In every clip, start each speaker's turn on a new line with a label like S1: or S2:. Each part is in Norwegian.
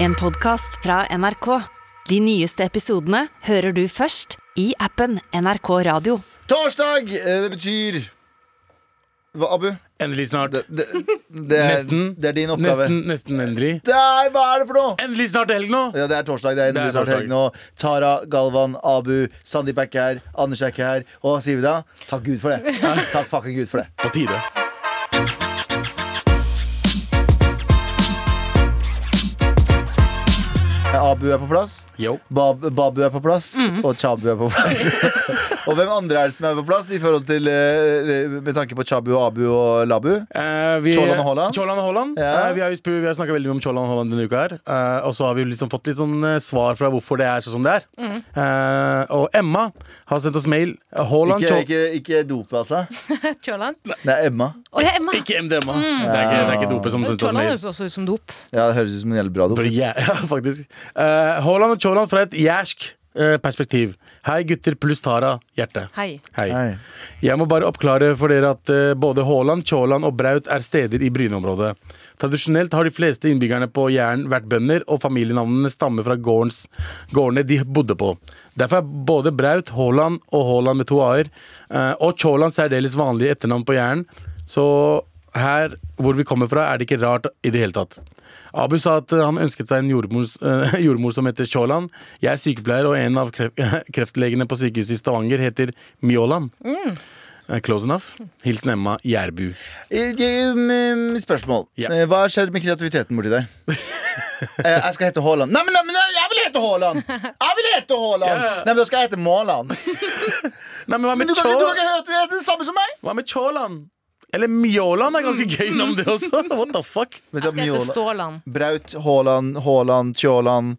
S1: En podcast fra NRK. De nyeste episodene hører du først i appen NRK Radio.
S2: Torsdag! Eh, Det betyr Hva, Abu? Eh,
S3: Endelig snart.
S2: Det, det, det, er,
S3: Nesten.
S2: det er din oppgave.
S3: Nesten, nesten endelig.
S2: Nei, hva er det for noe?
S3: Endelig snart helg nå!
S2: Ja, det er torsdag. det er,
S3: Det er
S2: endelig snart
S3: torsdag.
S2: helg nå Tara, Galvan, Abu, Sandeep er ikke her. Anders er ikke her. Og hva sier vi da? Takk Gud for det. Takk fucking Gud for det.
S3: På tide.
S2: Eh, Abu er på plass.
S3: Yo.
S2: Bab, Babu er på plass,
S3: Mhm.
S2: og Chabu er på plass. og hvem andre er det som er på plass i forhold til, eh, med tanke på Chabu, Abu og Labu?
S3: Eh, vi,
S2: Tjåland og Haaland?
S3: Tjåland og Haaland.
S2: Ja.
S3: Eh, vi har, jo spu- vi har snakka veldig mye om Tjåland og Haaland denne uka. her eh, Og så har vi jo liksom fått litt sånn eh, svar fra hvorfor det er sånn som det er.
S4: Mm.
S3: Eh, og Emma har sendt oss mail. Eh, Haaland
S2: Ikke,
S3: Tjå-
S2: ikke, ikke dope, altså.
S4: Tjåland?
S2: Det er Emma.
S4: Å ja, Emma.
S3: Ikke MDMA. Det, er ikke, det er ikke dope som sendte oss
S4: Mm. Tjåland
S3: mail.
S4: høres også ut som dop.
S2: Ja, Det høres ut som en jævlig bra dop.
S3: Bro, ja, ja, faktisk. Eh, Haaland og Tjåland fra et jærsk eh, perspektiv. Hei, gutter pluss Tara. Hjerte.
S4: Hei.
S3: Hei.
S2: Nei.
S3: Jeg må bare oppklare for dere at eh, både Haaland, Tjåland og Braut er steder i Bryne-området. Tradisjonelt har de fleste innbyggerne på Jæren vært bønder, og familienavnene stammer fra gårdens, gårdene de bodde på. Derfor er både Braut, Haaland og Haaland med to a-er, eh, og Tjåland særdeles vanlige etternavn på Jæren. Så her hvor vi kommer fra, er det ikke rart i det hele tatt. Abu sa at eh, han ønsket seg en jordmor, eh, jordmor som heter Tjåland. Jeg er sykepleier, og en av kref kreftlegene på sykehuset i Stavanger heter Mjåland. Eh, Close enough. Hilsen Emma Gjerbu.
S2: Eh, eh, mm, Spørsmål.
S3: Ja.
S2: Eh, Hva har skjedd med kreativiteten borti der? Eh, jeg skal hete Haaland. Nei, men, nei, men jeg vil hete Haaland! Jeg vil hete Haaland! Nei, men da skal jeg hete Måland.
S3: Nei, men hva
S2: Men
S3: med
S2: du kan, ikke- du kan
S3: Tjå-
S2: ikke hete hete det samme som meg!
S3: hva med Tjåland? Eller Mjåland er ganske gøy navn, det også. What the fuck?
S2: Vet du
S4: Jeg
S2: hva,
S4: skal hete
S2: Mjåla-
S4: Ståland.
S2: Braut, Haaland, Haaland, Tjåland,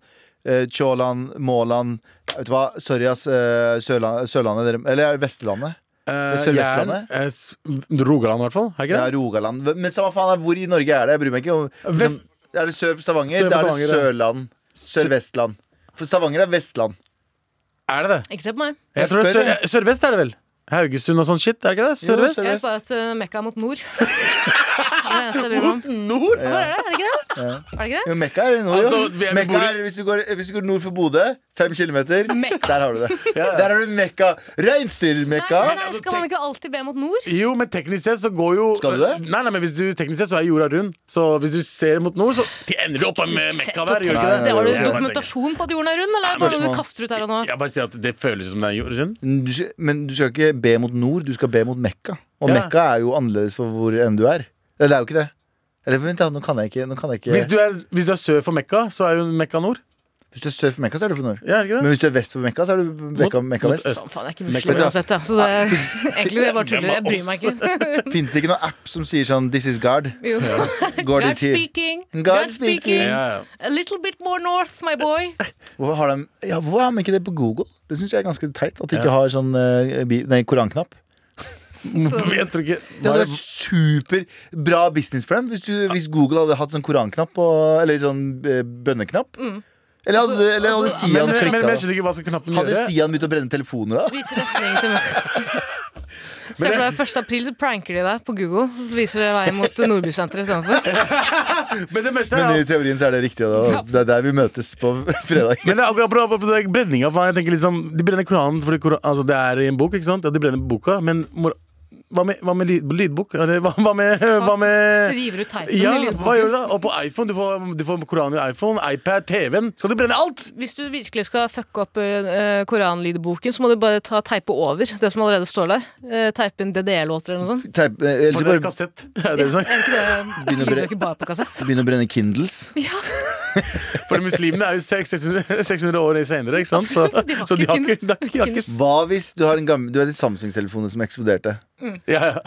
S2: eh, Tjåland, Måland Vet du hva, sorry ass, eh, Sørland, Sørlandet, dere, eller er det Vestlandet?
S3: Eh,
S2: Sørvestlandet?
S3: Jæren, eh, s- Rogaland, i hvert fall. Er ikke
S2: Ja,
S3: det?
S2: Rogaland. Men samme faen, er hvor i Norge er det? Jeg bryr meg ikke om
S3: Vest-
S2: Er det sør for Stavanger?
S3: Sør for
S2: da er det
S3: Stavanger,
S2: Sørland. Sør-Vestland. For Stavanger er Vestland.
S3: Er det det?
S4: Ikke se på meg.
S3: Jeg
S2: Jeg
S3: tror det er
S2: spør,
S3: sør- Sørvest er det vel? Haugesund og sånn shit, er det ikke det?
S2: Jo,
S3: Sørvest?
S2: sør-
S4: Jeg vet bare at eh, Mekka er mot nord. Det er det eneste jeg bryr meg om.
S3: Nord?
S4: Hvor er det? Er det ikke det? Er det ikke det?
S2: Jo, Mekka er i nord,
S3: Altså,
S2: jo.
S3: vi er- vi
S2: Mekka
S3: bor i-
S2: er, hvis, du går, hvis du går nord for Bodø, fem kilometer,
S4: Mekka.
S2: der har du det.
S3: ja.
S2: Der har du Mekka. Reinsdyr-Mekka.
S4: Nei, nei, nei, skal man ikke alltid be mot nord?
S3: Jo, men teknisk sett så går jo
S2: Skal du det?
S3: Nei, nei, men hvis du, teknisk sett så er jorda rund. Så hvis du ser mot nord, så ender du opp med Mekka der. gjør du ikke
S2: Nei,
S4: Det
S3: det?
S4: Har du
S3: Jeg bare
S4: dokumentasjon på at jorden er rund, eller er det bare noe
S2: Spørsmål.
S4: du kaster ut her og nå?
S3: tenker- Jeg bare sier at det føles som det er jord- rund.
S2: Du skal, men du skal ikke be mot nord, du skal be mot Mekka. Og
S3: Ja.
S2: Mekka er jo annerledes for hvor enn du er. Eller det er jo ikke det. Eller vent, da, nå kan jeg ikke Nå kan jeg ikke
S3: Hvis du er, hvis du er sør for Mekka, så er jo Mekka nord.
S2: Hvis du er sør for Mekka, så er du for nord.
S3: Ja, er det ikke det?
S2: Men hvis du er vest for Mekka, så er du Mekka,
S3: Mot-
S2: Mekka
S3: mot
S2: vest.
S3: øst.
S4: Faen, jeg er ikke
S3: Mekka-
S4: muslim uansett, ja. Så det, egentlig det er bare tuller. Jeg bryr meg ikke.
S2: Fins det ikke noen app som sier sånn This is God?
S4: Jo.
S2: God
S4: God
S2: is here.
S4: speaking,
S2: God
S4: God
S2: speaking.
S4: speaking,
S3: Ja, ja.
S4: a little bit more north, my boy.
S2: Hvorfor har de, ja, hvorfor har de ikke det på Google? Det syns jeg er ganske teit. At de ikke har sånn eh, bi- nei, koranknapp.
S3: Jeg tror ikke
S2: Det hadde vært superbra business for dem hvis, du, hvis Google hadde hatt sånn koranknapp og- eller sånn eh, bønneknapp. Eller hadde, eller hadde
S4: altså,
S2: Sian
S3: Mm. Men, men, men,
S2: klikka
S3: men jeg
S2: da?
S3: skjønner ikke hva skal knappen
S2: Hadde
S3: gjøre.
S2: Sian begynt å brenne telefoner da?
S4: Viser retning til meg. Se for deg 1. april, så pranker de deg på Google. Så viser det veien mot Nordbysenteret istedenfor.
S3: Men det meste
S2: Men
S3: er
S2: i teorien så er det riktig, og da- det er der vi møtes på fredag.
S3: men det er akkurat akkurat på det brenninga. faen, Jeg tenker liksom, de brenner Koranen fordi Koran, altså det er i en bok. ikke sant? Ja, de brenner boka, men mor, hva med, hva med lyd, lydbok? Eller hva, hva med, hva med
S4: River ut teipen
S3: ja,
S4: i
S3: hva
S4: lydboken.
S3: gjør du da? Og på iPhone, du får, du får Koranen i iPhone, iPad, TV-en. Skal du brenne alt?
S4: Hvis du virkelig skal fucke opp eh, koranlydboken, så må du bare ta teipe over det som allerede står der. Eh, teipe inn DDE-låter eller noe sånt.
S2: Teip- eh, Ellers så
S3: For det er
S2: bare
S3: kassett. Er sånn. det det du sa?
S4: Er ikke det
S2: sånn? Begynner å bre-
S4: lydbøker bare på kassett?
S2: begynne å brenne Kindles.
S3: For muslimene er jo 600, 600 år senere, ikke sant? Så,
S4: de har
S3: så de
S4: ikke
S3: har ikke, de har ikke, de har ikke
S2: Hva hvis du har en gammel Du har de Samsung-telefonene som eksploderte?
S3: ja, ja.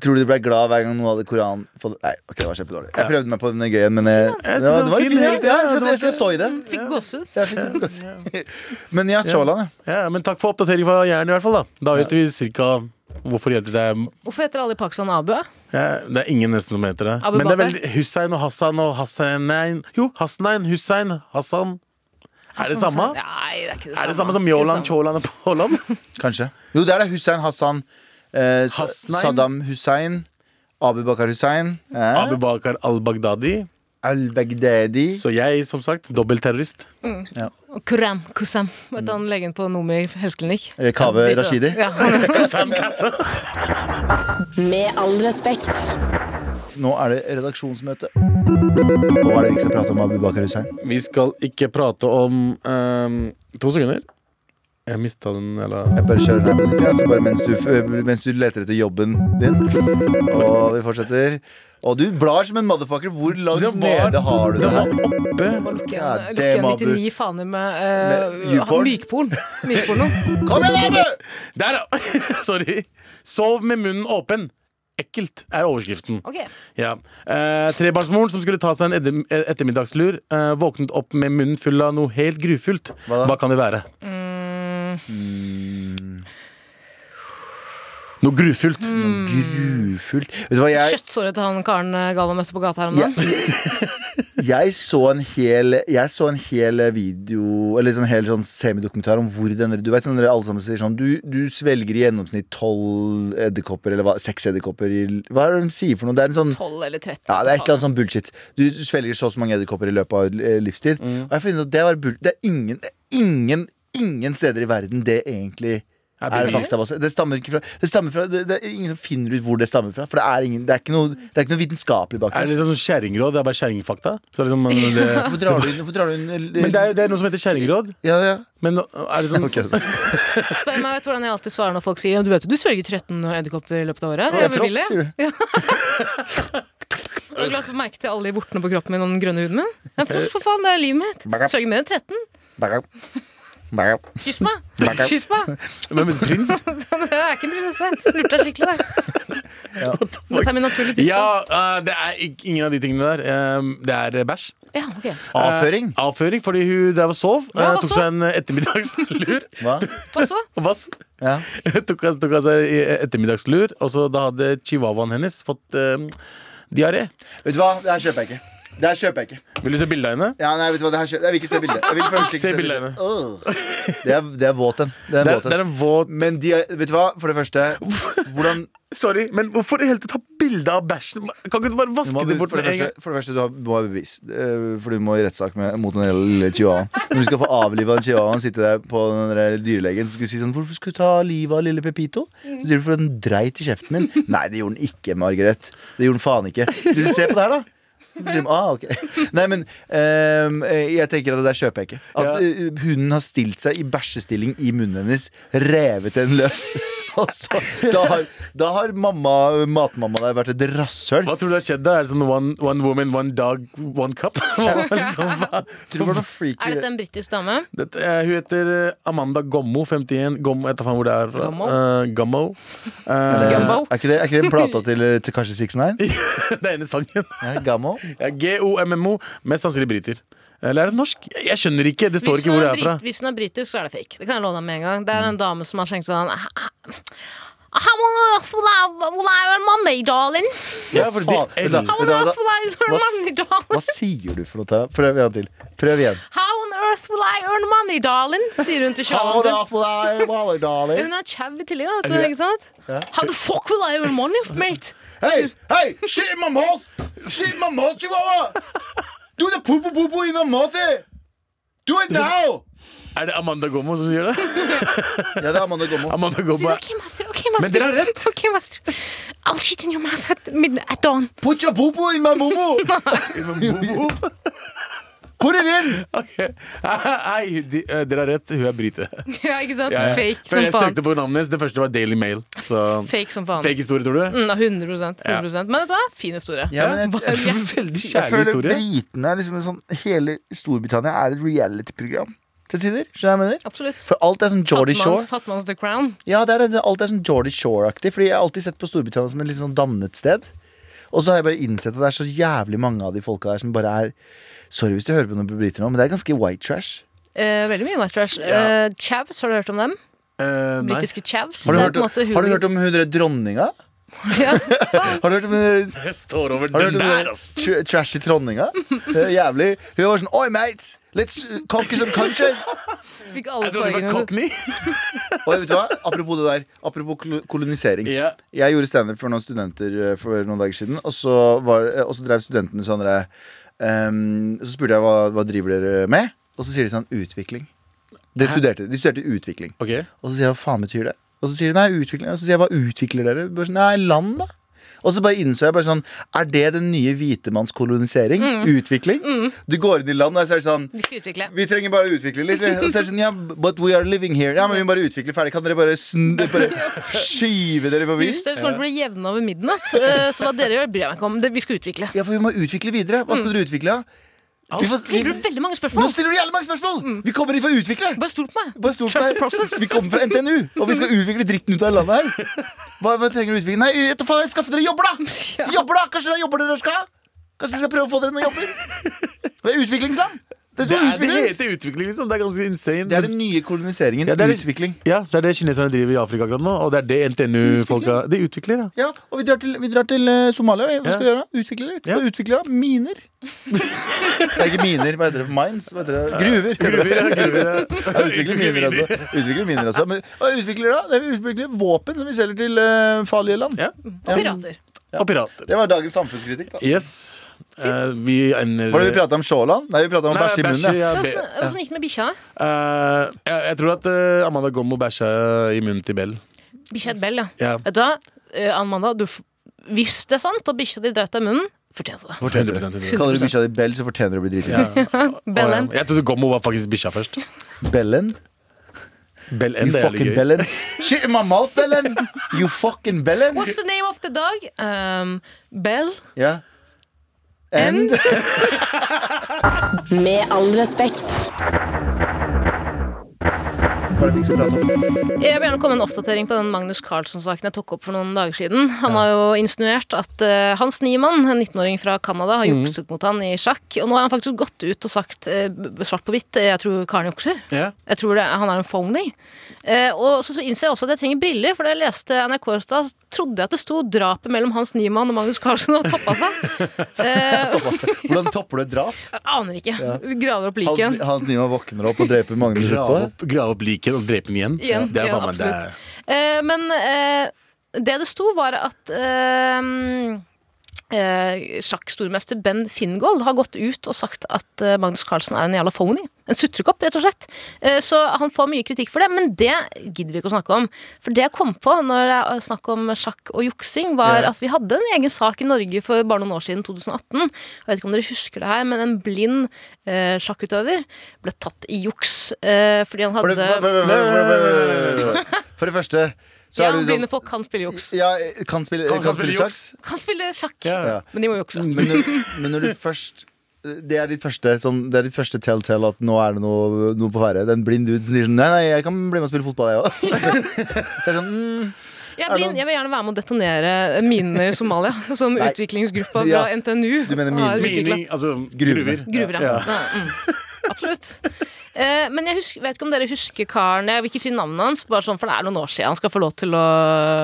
S2: Tror du du ble glad hver gang noen hadde Koran på Nei, ok, det var kjempedårlig. Jeg prøvde meg på den gøye, men jeg, det var, det var
S3: fin,
S2: fin
S3: ja.
S2: helt. Ja, jeg, skal, jeg skal stå i det.
S4: Fikk gåsehud.
S2: Jeg fikk- Men ja, Tjåland, ja.
S3: Ja, men takk for oppdatering fra Jæren i hvert fall. Da Da vet vi cirka hvorfor det heter det
S4: Hvorfor heter alle i Pakistan Abu?
S3: ja, Det er ingen nesten som heter det.
S4: Abu
S3: Men det er
S4: Bakr?
S3: veldig Hussein og Hassan og Hassanein Jo, Hassanein, Hussein, Hassan. Er det samme?
S4: Nei, det er ikke det samme.
S3: Er det samme som Mjåland,
S4: Ikke det samme.
S3: Tjåland og Påland?
S2: Kanskje. Jo, det er det. Hussein Hassan. Eh, Sa-
S3: Hasnain.
S2: Saddam Hussein. Abu Bakar Hussein. Eh,
S3: Abu Bakar al-Baghdadi.
S2: er Al-Baghdadi.
S3: Så jeg, som sagt, dobbeltterrorist.
S4: Og Kuram Kusam, vet han legen på Nomi helseklinikk.
S2: Mm. Eh, Kaveh Rashidi.
S4: Ja, han er
S5: Med all respekt.
S2: Nå er det redaksjonsmøte. Og hva er det vi skal prate om, Abu Bakar Hussein?
S3: Vi skal ikke prate om ehm, To sekunder. Jeg mista den, eller
S2: Jeg bare kjører den her på nytt, ja, så bare mens du, f- mens du leter etter jobben din. Og vi fortsetter. Og du blar som en motherfucker. Hvor langt
S3: Det var-
S2: nede har du det her?
S3: Oppe.
S4: Må lukke
S2: Ja,
S4: igjen-
S2: det må
S4: lukke igjen 99 faner med, eh,
S2: Med YouPorn?
S4: han- mykporn. Mykporno.
S2: Kom igjen, Abu!
S3: Der, ja! Sorry. Sov med munnen åpen. Ekkelt er overskriften.
S4: Ok.
S3: Ja. Eh, trebarnsmoren som skulle ta seg en edderm- eh, ettermiddagslur, eh, våknet opp med munnen full av noe helt grufullt.
S2: Hva da?
S3: Hva kan det være?
S4: Mm,
S3: Noe grufullt.
S4: Mm.
S2: Grufullt. Vet du hva, jeg,
S4: Kjøttsåret til han karen eh, Galvan møtte på gata her om dagen.
S2: jeg, jeg, så en hel, jeg så en hel video Eller sånn hel sånn semidokumentar om hvor denne Du vet når dere alle sammen sier sånn Du, du svelger i gjennomsnitt tolv edderkopper, eller hva, seks edderkopper i Hva er det de sier for noe? Det er en sånn
S4: 12 eller
S2: Ja,
S4: 13.
S2: det er et eller annet sånn bullshit. Du svelger så og så mange edderkopper i løpet av eh, livstid. Og jeg finner ut at det, var bull det er ingen, det er ingen, ingen steder i verden det egentlig
S3: Er
S2: er
S3: bullshit?
S2: faktabasert. Det stammer ikke fra, det, stammer fra det, det er ingen som finner ut hvor det stammer fra. For det er, ingen, det er, ikke, noe, det er ikke noe vitenskapelig bak
S3: Er det
S2: det.
S3: liksom sånn kjerringråd? Det er bare kjerringfakta? Så det er liksom, men, det,
S2: Hvorfor drar du inn, hvorfor drar du inn eh,
S3: men det er, jo- det er noe som heter kjerringråd.
S2: ja, ja.
S3: Men er det sånn
S2: Ok, så-
S4: Spør meg vet du hvordan jeg alltid svarer når folk sier Du vet jo, du svelger 13 edderkopper i løpet av året.
S2: Å, jeg er
S4: Jeg vil
S2: sånn frosk,
S4: det.
S2: sier du.
S4: Jeg har lagt merke til alle de vortene på kroppen min og den grønne huden min. Jeg er frosk, for faen, det er livet mitt. Jeg Svelger mer enn 13. Kyss meg! Kyss meg!
S3: Men men prins?
S4: Jeg er ikke en prinsesse. Lurte deg skikkelig der. Dette er min naturlige tilstand.
S3: Ja, eh, det er ikk- ingen av de tingene der. Eh, Det er eh, bæsj.
S4: Ja, ok.
S2: Avføring.
S3: Eh, Avføring, fordi hun drev og sov.
S4: Ja,
S3: eh,
S4: hva
S3: tok
S4: så?
S3: seg en eh, ettermiddagslur.
S2: Hva?
S4: Hva så?
S3: Og vass.
S2: Ja.
S3: tok, av- tok av seg i- ettermiddagslur, og så da hadde chihuahuaen hennes fått eh, diaré.
S2: Vet du hva, det her kjøper jeg ikke. Det her kjøper jeg ikke.
S3: Vil du se bildet av henne?
S2: Ja, nei, vet du hva, det her kjøper Jeg vil ikke se bildet. Jeg vil faktisk ikke
S3: Se
S2: se
S3: bildet
S2: bildet. Åh. Det er, det er våt en. Det er en
S3: Det er,
S2: våt
S3: det
S2: en.
S3: er en våt
S2: Men de, er- vet du hva, for det første Hvordan
S3: Sorry, men hvorfor i det hele tatt ta bilde av bæsjen? Kan ikke du bare
S2: du
S3: vaske
S2: må,
S3: det bort
S2: for, det
S3: med en gang?
S2: første, for det første, du har, må ha bevis. eh, For du må i rettssak med- mot den lille chihuahuaen. Når du skal få avliva en chihuahua og sitte der på den der dyrlegen Så skal du si sånn 'Hvorfor skulle du ta livet av lille Pepito?' Så sier du 'fordi den dreit i kjeften min'. Nei, det gjorde den ikke, Margaret. Det gjorde den faen ikke. Så sier du 'se på det her', da. Så sier de, ah, ok Nei, men ehm, eh, jeg tenker at det der kjøper jeg ikke. At
S3: Ja.
S2: eh, hunden har stilt seg i bæsjestilling i munnen hennes, revet den løs. Og så, da har, da har mamma, matmamma der vært et rasshøl.
S3: Hva tror du har skjedd da? Er det sånn one, one woman, one dog, one cup? Hva- liksom, hva?
S2: Tror du det var noe freaky
S4: Er dette en britisk dame?
S3: Dette, eh, hun heter eh, Amanda Gommo, 51. Gommo, jeg vet da faen hvor det er fra.
S4: Gommo?
S3: Eh, Gommo. Eh,
S4: Gumbo.
S2: Er ikke det, er ikke det plata til, eh, til kanskje 69?
S3: det er ene sangen.
S2: Ja, Gammo?
S3: Ja, G-O-M-M-O. Mest sannsynlig briter. Eller er det norsk? Jeg skjønner ikke. Det står
S4: Hvis
S3: ikke
S4: hun,
S3: hvor det
S4: er
S3: er fra.
S4: brit, hvis hun er britisk, så er det fake. Det kan jeg love deg med en gang. Det er en dame som har skjenkt sånn How on earth will I, will I earn money, darling?
S3: Ja, for
S2: Faen,
S3: de,
S2: vent da.
S4: How on
S2: Vet du hva, da-
S4: earth will I earn
S2: hva s-
S4: money, darling?
S2: Hva sier du for noe, Tara? Prøv igjen til. Prøv igjen.
S4: How on earth will I earn money, darling? Sier hun til
S2: How the
S4: Charlotte.
S2: f- I- Wally, darling?
S4: Hun er chau i tillegg, da. vet du, Ikke sant? How the fuck will I earn money, mate?
S2: Hey, hey, shit in my mouth! Shit in my mouth, chihuahua! Do the poo poo poo in my mouth! eh! Do it now!
S3: er det Amanda Gommo som gjør det?
S2: Ja, det er Amanda Gommo.
S3: Amanda
S4: Sier
S3: Gommo.
S4: OK, master. OK, master.
S3: Men dere har rett.
S4: OK, master. I'll shit in your mouth at, mid at dawn.
S2: Put your poo poo in my momo! Put it in!
S3: Ok. Hei, de, eh, dere har rett. Hun er brite.
S4: ja, ikke sant?
S3: Ja, ja.
S4: Fake
S3: For
S4: som
S3: jeg
S4: faen.
S3: søkte på navnet hennes. Det første var Daily Mail. Så
S4: Fake som faen.
S3: fake historie, tror du?
S4: Mm, 100, 100 Men vet du hva? Fin historie.
S2: Ja, men jeg, jeg,
S3: Veldig
S2: jeg
S3: kjærlig
S2: føler
S3: historie.
S2: britene er liksom en sånn Hele Storbritannia er et reality-program til tider. Skjønner du hva jeg mener?
S4: Absolutt.
S2: For alt er sånn Geordie Shore.
S4: Fatmanns, Fatmanns The Crown.
S2: Ja, det er det. Alt er sånn Geordie Shore-aktig. Fordi jeg har alltid sett på Storbritannia som et litt sånn dannet sted. Og så har jeg bare innsett at det er så jævlig mange av de folka der som bare er Sorry hvis du hører på noen briter nå, men det er ganske white trash.
S4: Eh, veldig mye white trash.
S3: Ja.
S4: Eh, Chavs, har du hørt om dem?
S3: Eh, nei.
S4: Britiske Chavs.
S2: Har du,
S4: Det er
S2: hørt,
S4: på en
S2: om-
S4: måte
S2: har du
S4: huden-
S2: hørt om hun der dronninga?
S4: Ja.
S2: Har du hørt om hun
S3: Jeg står over
S2: har du hørt
S3: den
S2: om hun
S3: der,
S2: der
S3: ass.
S2: tr- trashy dronninga? Det er Jævlig. Hun var sånn Oi, mate! Let's uh, conquer some countries!
S4: Fikk
S3: Er
S4: alle
S3: det fra
S4: poengene.
S3: Cockney?
S2: Og vet du hva? Apropos det der. Apropos kol- kolonisering.
S3: Ja.
S2: Jeg gjorde standup for noen studenter eh, for noen dager siden, og så, var, eh, og så drev studentene sånn derre Ehm, så spurte jeg hva, hva driver dere med, og så sier de sånn utvikling. De studerte, de studerte utvikling.
S3: Ok,
S2: Og så sier jeg hva faen betyr det? Og så sier de nei, utvikling. Og så sier jeg hva utvikler dere? Bare sånn, nei, land, da. Og så bare innså jeg bare sånn Er det den nye hvitemannskolonisering? Utvikling? Du går inn i land, og så er det sånn
S4: Vi skal utvikle.
S2: vi trenger bare å utvikle litt. vi. Og så er det sånn, ja, but we are living here. Ja, men vi må bare utvikle ferdig. Kan dere bare, sn bare skyve dere forbi?
S4: Huset deres kommer til å bli jevna ved midnatt. eh, Så hva dere gjør, bryr jeg meg ikke om. Det- Vi skal utvikle.
S2: Ja, for vi må utvikle videre. Hva skal dere utvikle av? Vi får-
S4: Stiller du veldig
S2: Nå
S4: mange spørsmål?
S2: stiller du jævlig mange spørsmål! Vi kommer hit for å utvikle!
S4: Bare stol på meg.
S2: Bare stol på
S4: Trust
S2: meg.
S4: the process.
S2: Vi kommer fra NTNU, og vi skal utvikle dritten ut av landet her. Hva, hva trenger du utvikling? Nei, vet du faen, skaffe dere jobber, da!
S4: Ja.
S2: Jobber da, Kanskje det er jobber dere skal ha? Kanskje dere skal prøve å få dere noen jobber? Det er utviklingsland! Det er
S3: Det,
S2: som
S3: er, det
S2: utvikling.
S3: heter utvikling, liksom. Det er ganske insane.
S2: Det er den nye koloniseringen.
S3: Ja, det er-
S2: Utvikling.
S3: Ja, det er det kineserne driver i Afrika akkurat nå, og det er det NTNU-folka De utvikler, ja.
S2: Ja, og vi drar til, vi drar til eh, Somalia. Hva skal vi
S3: Ja.
S2: gjøre? Utvikle litt.
S3: Ja.
S2: Skal vi utvikle da? miner. det er ikke miner. Hva heter det? Mines? Hva heter det? Gruver.
S3: Gruver, ja, gruver, ja.
S2: Ja, utvikle miner, altså. Utvikle miner, altså. Men hva utvikler da? Det er vi utvikler våpen som vi selger til eh, farlige land.
S3: Ja.
S4: Og pirater.
S3: Og pirater.
S2: Det var dagens samfunnskritikk, da.
S3: Yes. Eh, vi ender
S2: Var det vi prata om Sjåland? Nei, vi prata om bæsj i munnen. ja.
S3: ja, be-
S4: Åssen åssen gikk det med bikkja?
S3: Eh, jeg, jeg tror at eh, Amanda Gommo bæsja i munnen til Bell.
S4: Bikkja het Bell, ja.
S3: Ja.
S4: Vet du hva, eh, Amanda, du, f- hvis det er sant at bikkja di dreit deg i munnen, fortjente det.
S3: 100% til det.
S2: Kaller du bikkja di Bell, så fortjener du å bli driti.
S3: Ja.
S4: Bellen.
S3: Å, ja. Jeg trodde Gommo var faktisk bikkja først.
S2: Bellen?
S3: Bell
S2: You
S3: N, det er
S2: fucking
S3: jævlig gøy.
S2: Bellen. Shit in my mouth, Bellen! You fucking Bellen!
S4: What's the name of the dog? Um, Bell.
S2: Ja. And
S5: Med all respekt.
S2: Var det vi som pratet om?
S4: Jeg vil gjerne komme med en oppdatering på den Magnus Carlsen-saken jeg tok opp for noen dager siden. Han har jo insinuert at eh, Hans Niemann, en 19-åring fra Canada, har jukset mot han i sjakk. Og nå har han faktisk gått ut og sagt eh, b- svart på hvitt eh, jeg tror Karen jukser.
S3: Ja.
S4: Jeg tror det, er- han er en phony. Eh, og så, så innser jeg også at jeg trenger briller, for da jeg leste NRK i stad, trodde jeg at det sto drapet mellom Hans Niemann og Magnus Carlsen og toppa seg. Eh,
S2: Hvordan topper du et drap?
S4: jeg aner ikke. Graver opp liket igjen.
S2: Hans, Hans Niemann våkner opp og dreper Magnus
S3: Grave
S2: utpå.
S3: opp, grave opp liket og drepe den igjen.
S4: Igjen,
S3: Det er
S4: ja,
S3: faen meg det er-
S4: Eh, men eh, det det sto, var at eh, eh, sjakkstormester Ben Fingold har gått ut og sagt at eh, Magnus Carlsen er en jævla phony. En sutrekopp, rett og slett. Eh, så han får mye kritikk for det, men det gidder vi ikke å snakke om. For det jeg kom på når det er snakk om sjakk og juksing, var
S3: Ja.
S4: at vi hadde en egen sak i Norge for bare noen år siden, 2018. Jeg vet ikke om dere husker det her, men en blind eh, sjakkutøver ble tatt i juks eh, fordi han
S2: For
S4: hadde
S2: det, for, for, for, for, for, for, for, for det første så
S4: Ja,
S2: er du sånn
S4: blinde folk kan spille juks.
S2: ja, kan spille, kan spille sjakk.
S4: Kan spille sjakk,
S3: Ja.
S2: Ja.
S4: men de må jukse.
S2: Men når, men når du først det er ditt første, sånn, det er ditt første telltale at nå er det noe, noe på ferde. Det er en blind dude som sier sånn Nei, nei, jeg kan bli med og spille fotball, jeg òg. Så er det sånn mm,
S4: Jeg,
S2: Er
S4: blir,
S2: det-
S4: jeg vil gjerne være med å detonere minene i Somalia, som
S2: Nei.
S4: utviklingsgruppa
S2: Ja.
S4: fra NTNU
S2: Du mener min-
S4: har utvikla.
S3: Mining, altså
S2: Gruver.
S3: gruver.
S4: Gruver, ja.
S3: Ja.
S4: Nei, mm. Absolutt. Eh, men jeg husker, vet ikke om dere husker karen Jeg vil ikke si navnet hans, bare sånn, for det er noen år siden. Han skal få lov til å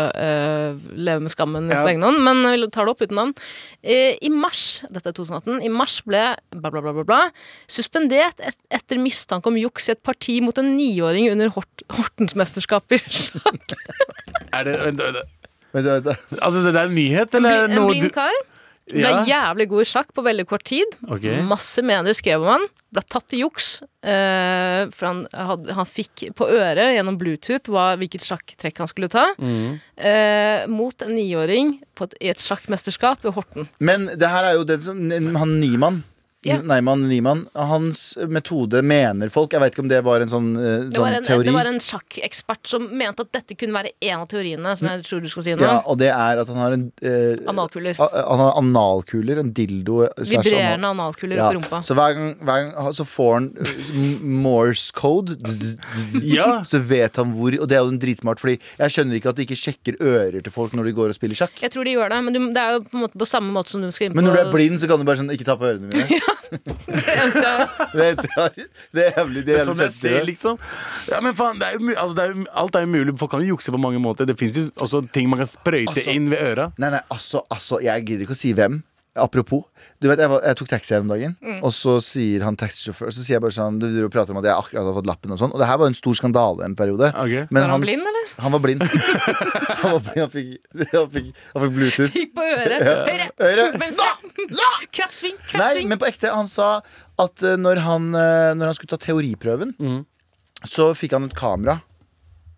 S4: eh, leve med skammen
S3: Ja.
S4: på egen hånd, men vi tar det opp uten navn. Eh, I mars dette er 2018, i mars ble bla, bla, bla, bla, bla suspendert et, etter mistanke om juks i et parti mot en niåring under Hort, Hortensmesterskapet i sjakk.
S3: Er det, vent, vent,
S2: Vent, vent, vent.
S3: altså, det der er en nyhet, eller? er det
S4: Bli, en
S3: noe
S4: blind
S3: du-
S4: kar. Ble
S3: Ja.
S4: jævlig god i sjakk på veldig kort tid.
S3: Ok.
S4: Masse medier skrev om han. Ble tatt i juks. eh, for han, hadde, han fikk på øret gjennom Bluetooth hva, hvilket sjakktrekk han skulle ta.
S3: Mm.
S4: eh, mot en niåring på et, i et sjakkmesterskap ved Horten.
S2: Men det her er jo den som Han Niemann.
S4: Ja.
S2: Neiman Niemann. Hans metode mener folk. Jeg veit ikke om det var en sånn, eh,
S4: Det var
S2: sånn
S4: en,
S2: teori.
S4: det var en sjakkekspert som mente at dette kunne være en av teoriene. Som jeg tror du skal si nå
S2: ja, og det er at han har en eh,
S4: Analkuler.
S2: a- a- Han har analkuler. En dildo. eh, slash anal-
S4: Vibrerende analkuler
S2: Ja,
S4: på rumpa.
S2: Så hver gang, hver gang så får han eh, Morse code,
S3: Ja.
S2: så vet han hvor Og det er jo en dritsmart, Fordi jeg skjønner ikke at de ikke sjekker ører til folk når de går og spiller sjakk.
S4: Jeg tror de gjør det, men du, det er jo på, en måte på samme måte som du skal inn på
S2: Men når du er blind, så kan du bare sånn Ikke ta på ørene mine. Det er, det er jævlig, det
S3: Det
S2: er jævlig
S3: er sånn jeg ser,
S2: sensitivt.
S3: liksom. Ja, men faen, det er jo, mu- altså, det er jo, alt er jo mulig. Folk kan jo jukse på mange måter. Det fins jo også ting man kan sprøyte
S2: Altså-
S3: inn ved øra.
S2: Nei, nei, altså, altså, jeg gidder ikke å si hvem. Apropos. Du vet, jeg, var, jeg tok taxi her om dagen,
S4: Mm.
S2: og så sier han taxisjåfør Så sier jeg bare sånn Du driver og prater om at jeg akkurat har fått lappen og sånn. Og det her var en stor skandale en periode.
S3: Ok.
S2: Men
S4: Var han
S2: hans-
S4: blind, eller?
S2: Han var blind. han, var, blind, han, fikk, han, fikk, han fikk Bluetooth.
S4: Gikk på øret. Høyre.
S2: Øre.
S4: Venstre. Krapp sving. Krapp
S2: Nei,
S4: sving.
S2: men på ekte. Han sa at eh, når han, eh, når han skulle ta teoriprøven, så fikk han et kamera.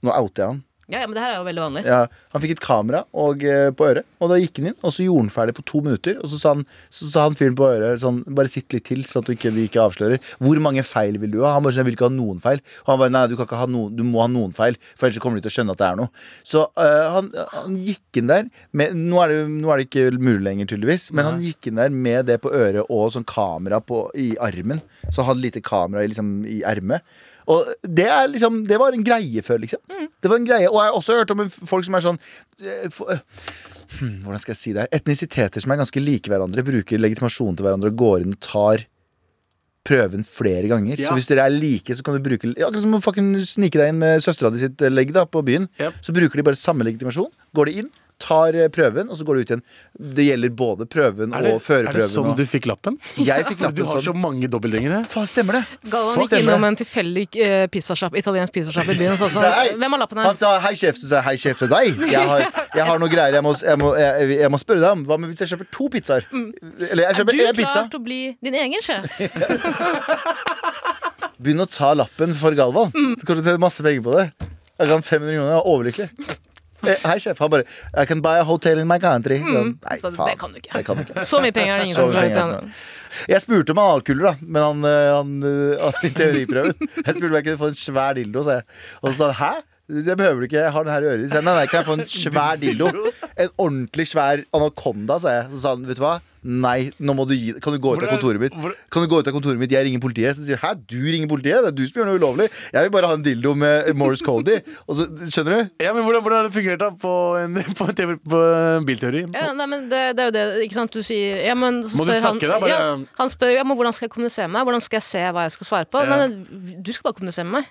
S2: Nå outer jeg han.
S4: Ja, ja, men det her er jo veldig vanlig.
S2: Ja, han fikk et kamera og, eh, på øret, og da gikk han inn, og så gjorde han ferdig på to minutter. Og så sa han, så sa han fyren på øret sånn Bare sitt litt til, sånn at du ikke, vi ikke avslører. Hvor mange feil vil du ha? Han bare sånn, jeg vil ikke ha noen feil. Og han bare nei, du, kan ikke ha noen, du må ha noen feil, for ellers så kommer du til å skjønne at det er noe. Så eh, han, han gikk inn der med nå er, det, nå er det ikke mulig lenger, tydeligvis, men han gikk inn der med det på øret og sånn kamera på, i armen. Så han hadde lite kamera i, liksom, i ermet. Og det, er liksom, det var en greie før, liksom.
S3: Mm.
S2: Det var en greie, Og jeg har også hørt om folk som er sånn eh, for, eh, hmm, Hvordan skal jeg si det? her? Etnisiteter som er ganske like hverandre, bruker legitimasjon til hverandre og går inn og tar prøven flere ganger.
S3: Ja.
S2: Så hvis dere er like, så kan du bruke ja, Akkurat som å fucking snike deg inn med søstera di sitt eh, legg da, på byen.
S3: Yep.
S2: Så bruker de bare samme legitimasjon, går de inn, tar eh, prøven, og så går de ut igjen. Det gjelder både prøven
S3: Er det,
S2: og
S3: er det
S2: førerprøven.
S3: sånn
S2: og-
S3: du fikk lappen?
S2: Jeg fikk
S3: Du
S2: lappen
S3: har så
S2: sånn.
S3: mange dobbeltgjengere.
S2: Faen, stemmer det?
S4: Galvan
S2: Faen,
S4: gikk
S2: stemmer det.
S4: innom en tilfeldig eh, pizzasjapp- italiensk pizzasjapp i byen og sa
S2: Så hei.
S4: sånn Hvem har lappen her?
S2: Han sa hei, sjef. Så sa jeg hei, sjef til deg. Jeg har, jeg har noe greier jeg må, jeg, må, jeg, jeg må spørre deg om. Hva med hvis jeg kjøper to pizzaer? Eller jeg
S4: Mm. Er du
S2: kjøper én pizza.
S4: klar til å bli din egen sjef?
S2: Begynn å ta lappen for Galvan.
S4: Mm.
S2: Så kan du tjene masse penger på det. Jeg kan 500 kroner. Jeg er overlykkelig. Eh, Hei, sjef. Han bare I can buy a hotel in my country. Så, nei,
S4: Mm. Så det
S2: faen.
S4: kan du ikke.
S2: Det kan du ikke.
S4: Så mye penger er det ingen
S2: Så
S4: som
S2: mye
S4: klarer
S2: penger
S4: å
S2: som
S4: tjene.
S2: er. Jeg spurte om han hadde kuler, da, men han, eh, han, eh, han i teoriprøven Jeg spurte om jeg kunne få en svær dildo, sa jeg. Og så sa han hæ? Det behøver du ikke, jeg har den her i øret ditt. Så jeg, Nei, nei, kan jeg få en svær dildo? En ordentlig svær anakonda, sa jeg. Så sa han, vet du hva? Nei, nå må du gi Kan du gå ut av
S3: Hvor er-
S2: kontoret mitt?
S3: hvor-
S2: Kan du gå ut av kontoret mitt, jeg ringer politiet? Så sier jeg, hæ, du ringer politiet? Det er du som gjør noe ulovlig. Jeg vil bare ha en dildo med Morris Cody. Og så, skjønner du?
S3: Ja, men Hvordan, hvordan har det fungert da på en, på en, TV, på en bilteori?
S4: Ja, nei, men det, det er jo det, ikke sant. Du sier ja, men, så
S3: Må du
S4: spør han,
S3: snakke da, bare-
S4: Ja, han spør ja, men hvordan skal jeg kommunisere med deg? Hvordan skal jeg se hva jeg skal svare på?
S3: Ja.
S4: Nei, nei, du skal bare kommunisere med meg.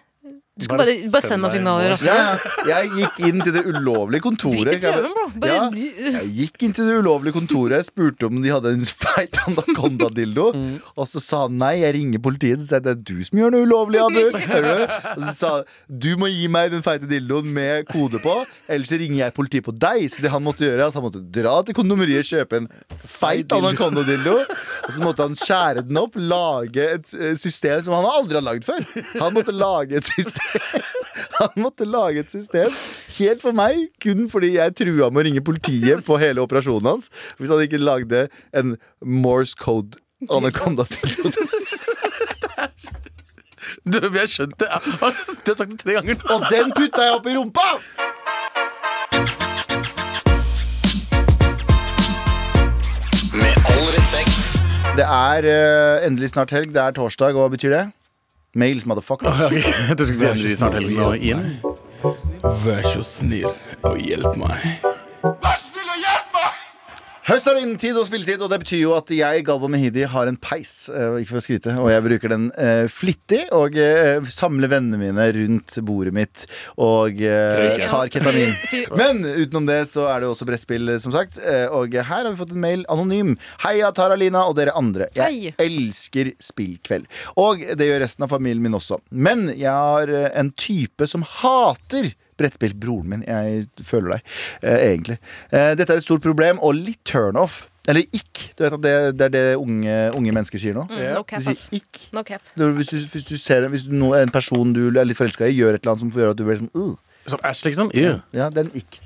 S4: Du skal
S3: Bare
S4: bare, bare
S3: send
S4: sende
S3: meg
S4: meg signaler.
S3: en
S4: altså.
S2: Ja, ja. jeg gikk inn til det ulovlige kontoret.
S4: Drit i prøven, bro. Bare
S2: Ja.
S4: du-
S2: Jeg gikk inn til det ulovlige kontoret, spurte om de hadde en feit anakonda-dildo. Og så sa han nei, jeg ringer politiet, så sa jeg det er du som gjør noe ulovlig, Abu. Hører du? Og så sa han, du må gi meg den feite dildoen med kode på, ellers så ringer jeg politiet på deg. Så det han måtte gjøre, er at han måtte dra til kondomeriet, kjøpe en feit anakonda-dildo, og så måtte han skjære den opp, lage et eh, system som han aldri har lagd før. Han måtte lage et system han måtte lage et system helt for meg, kun fordi jeg trua med å ringe politiet på hele operasjonen hans. Hvis han ikke lagde en Morse code anaconda til
S3: Du, jeg har skjønt det. Ah, Du har sagt det tre ganger nå.
S2: Og den putta jeg opp i rumpa!
S6: Med all respekt.
S2: Det er eh, endelig snart helg. Det er torsdag, og hva betyr det? Mails, motherfucker.
S3: Du skulle si endelig snart helgen og inn. Vær så snill og hjelp meg.
S2: Høst er innetid og spilletid, og det betyr jo at jeg, Galvan Mehidi, har en peis. eh, Ikke for å skryte, og jeg bruker den eh, flittig og eh, samler vennene mine rundt bordet mitt og eh,
S4: Sier-
S2: tar ketamin.
S4: Sier-
S2: Men utenom det så er det jo også brettspill, eh, som sagt. eh, Og her har vi fått en mail anonym. Heia Tara-Lina og dere andre. Jeg
S4: Hei.
S2: elsker spillkveld. Og det gjør resten av familien min også. Men jeg har eh, en type som hater brettspill. Broren min, jeg føler deg, eh, egentlig. Eh, dette er et stort problem og litt turnoff. Eller ikk. Du vet at det, det er det unge, unge mennesker sier nå.
S4: Mm, No cap,
S2: De
S4: ass.
S2: sier ikk.
S4: No cap.
S2: Det er Hvis du, hvis du ser hvis du, no- en person du er litt forelska i, gjør et eller annet som får gjøre at du blir sånn «Ugh».
S3: Som Ash, liksom? Ew.
S2: Ja, den gikk.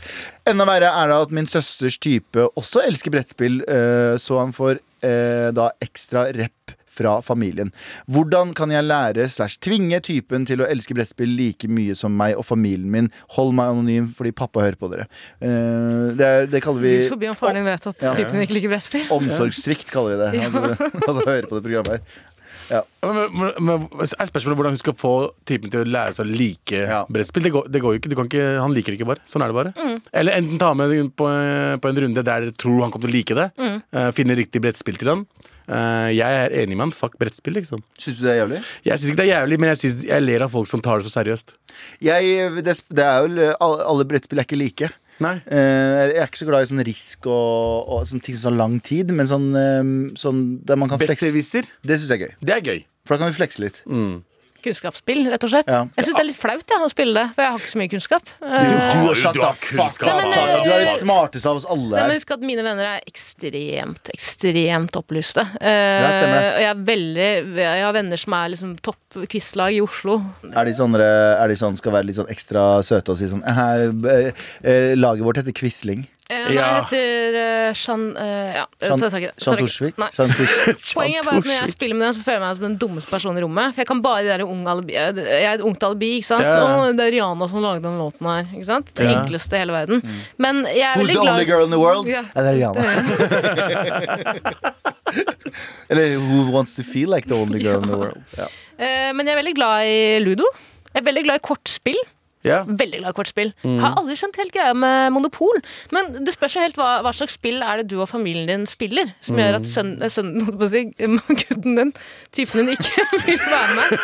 S2: Enda verre er det at min søsters type også elsker brettspill, eh, så han får eh, da ekstra rep fra familien. Hvordan kan jeg lære slash tvinge typen til å elske brettspill like mye som meg og familien min? Hold meg anonym fordi pappa hører på dere. Eh, det, er, det kaller vi
S4: Gud forbi om faren din vet at
S2: Ja.
S4: typen din ikke liker brettspill.
S2: omsorgssvikt, kaller vi det. Han, han hører på det programmet her.
S3: Men, men, men, er spørsmålet hvordan hun skal få typen til å lære seg å like
S2: Ja.
S3: brettspill? Det går, det går jo ikke. Du kan ikke. Han liker det ikke, bare. Sånn er det bare. Eller enten ta med henne på, på en runde der dere tror han kommer til å like det. eh, finne riktig brettspill til han. Eh, jeg er enig med han. Fuck brettspill, liksom.
S2: Syns du det er jævlig?
S3: Jeg syns ikke det er jævlig, men jeg, synes, jeg ler av folk som tar det så seriøst.
S2: Jeg, det, det er jo, alle brettspill er ikke like.
S3: Nei.
S2: Eh, jeg er ikke så glad i sånn risk og, og sånn ting som tar lang tid, men sånn, eh, sånn der man kan flekse.
S3: Besserwisser,
S2: Det syns jeg er gøy.
S3: det er gøy.
S2: For da kan vi flekse litt.
S3: Mm.
S4: Kunnskapsspill, rett og slett.
S2: Ja.
S4: Jeg syns det er litt flaut jeg, å spille det, for jeg har ikke så mye kunnskap. Eh,
S3: har-
S2: shut
S3: du har
S2: the fuck
S3: kunnskap.
S2: up,
S4: Nei, men,
S2: shut up.
S4: eh,
S2: Du er litt smarteste av oss alle
S4: Nei, men
S2: her.
S4: husk at mine venner er ekstremt, ekstremt opplyste. Eh,
S2: Ja, stemmer det.
S4: og jeg, er veldig, jeg har venner som er liksom topp quizlag i Oslo.
S2: Er de, sånne, er de sånn skal være litt sånn ekstra søte og si sånn eh, eh, eh, Laget vårt heter Quisling.
S4: Eh, nei,
S3: Ja.
S4: jeg heter eh, Jean eh, Ja, ta
S2: Jean
S4: saken. Ta
S2: Jean
S4: saken.
S2: Torsvik.
S4: Nei.
S2: Jean Tors-
S4: Poenget er bare at når jeg spiller med den, så føler jeg meg som den dummeste personen i rommet. For jeg kan bare de der unge alibi Jeg er et ungt alibi, ikke sant.
S3: Ja, ja.
S4: Og det er Rihanna som lagde den låten her. Ikke sant? Det
S3: Ja.
S4: enkleste i hele verden. Men jeg
S2: Mm.
S4: er
S2: Who's
S4: veldig
S2: the only
S4: glad
S2: girl in the world?
S4: Ja.
S2: Ja, det er Rihanna. Eller Who wants to feel like the only girl in the world? Ja.
S4: Eh, Men jeg er veldig glad i ludo. Jeg er veldig glad i kortspill.
S3: Ja.
S4: Veldig glad i kortspill.
S2: Mm.
S4: Har aldri skjønt helt greia med monopol. Men det spørs jo helt hva, hva slags spill er det du og familien din spiller, som
S2: Mm.
S4: gjør at sønnen, eh, sønnen holdt på å si, gutten din, typen din, ikke vil være med.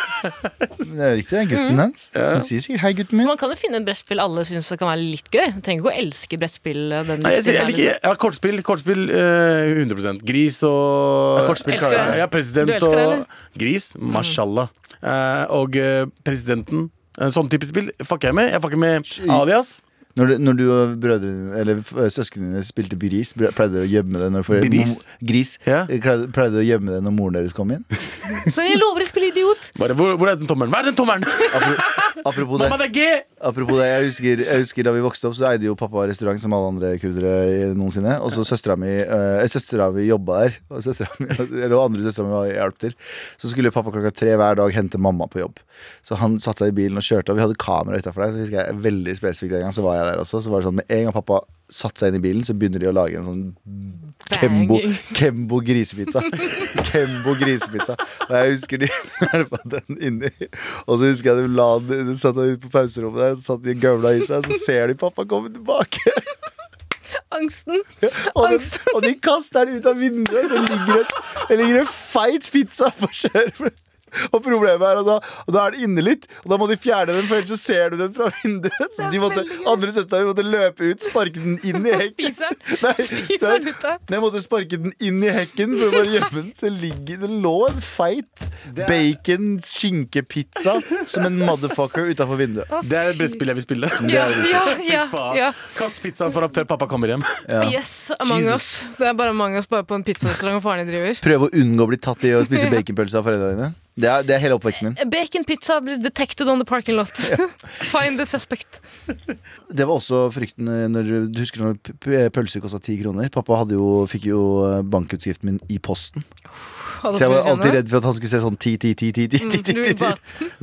S2: Det er riktig, det er
S4: Mm.
S2: gutten hans. Hun sier sikkert 'hei, gutten min'.
S4: Man kan jo finne et brettspill alle syns kan være litt gøy. Du trenger ikke å elske brettspill. Den
S3: Nei, jeg, sier- jeg liker
S4: livsstilen her, liksom.
S3: jeg, har kortspill. Kortspill eh, 100 Gris og
S2: Ja, kortspill
S4: klarer jeg.
S3: Ja, Ja,
S4: Du
S3: president
S4: elsker det, eller? Mm.
S3: og Gris. Mashallah. Eh, og eh, presidenten. En sånn type spill fucker jeg med. Jeg fucker med Alias.
S2: Når du, når du og brødrene, eller f- eh, søsknene dine spilte Biris, bre- pleide du å gjemme det når for,
S3: Biris?
S2: mo- gris?
S3: Ja.
S2: Pleide pleide du å gjemme det når moren deres kom inn?
S4: liksom. Så jeg lover å spille idiot.
S3: Bare, hvor, hvor er den tommelen? Hva er den tommelen?!
S2: Apropos det,
S3: Mamma, det er G!
S2: apropos det jeg, husker, jeg husker da vi vokste opp, så eide jo pappa restaurant som alle andre kurdere i- noensinne. Og så søstera mi, eh, søstera mi jobba der, og, søstera mi, eller andre søstera mi var- hjalp til. Så skulle pappa klokka tre hver dag hente mamma på jobb. Så han satte seg i bilen og kjørte, og vi hadde kamera utafor der. Så husker jeg veldig spesifikt en gang, så var jeg der også. Så var det sånn, Med en gang pappa satte seg inn i bilen, så begynner de å lage en sånn Kembo,
S4: Banging.
S2: Kembo grisepizza. Kembo grisepizza. Og jeg husker de hjelpa den inni. Og så husker jeg de la den de satt ut på pauserommet der, så satt de og gøvla i seg, så ser de pappa komme tilbake.
S4: Angsten.
S2: Og de,
S4: Angst.
S2: og de kaster den ut av vinduet, så ligger det, det ligger en feit pizza på skjermen. Og problemet er at da, og da er det inne litt, og da må de fjerne den, for ellers så ser du den fra vinduet. Så
S4: Det er
S2: de måtte,
S4: veldig gøy.
S2: andre søstera mi måtte løpe ut, sparke den inn i
S4: Og
S2: hekken.
S4: spiser den.
S2: Nei,
S4: Spiser den ut der.
S2: Men Jeg måtte sparke den inn i hekken for å bare gjemme den. Så ligger, det lå en feit bacon-skinkepizza som en motherfucker utafor vinduet.
S3: Det er et brettspill jeg vil spille.
S4: Ja, ja, ja,
S3: Fy faen.
S4: ja.
S3: Kast pizzaen for at før pappa kommer hjem.
S4: Yes, Among
S3: Jesus.
S4: Us. Det er bare Among Us bare på en pizzarestaurant faren din driver.
S2: Prøve å unngå å bli tatt i å spise baconpølse av foreldrene dine. Det er, det er hele oppveksten min.
S4: Bacon pizza is detected on the parking lot. Find the suspect.
S2: Det var også frykten eh, når du husker når p- p- pølser kosta ti kroner. Pappa hadde jo, fikk jo eh, bankutskriften min i posten. Så jeg var alltid redd for at han skulle se sånn ti, ti, ti, ti, ti,
S4: Mm,
S2: ti, ti, ti, ti.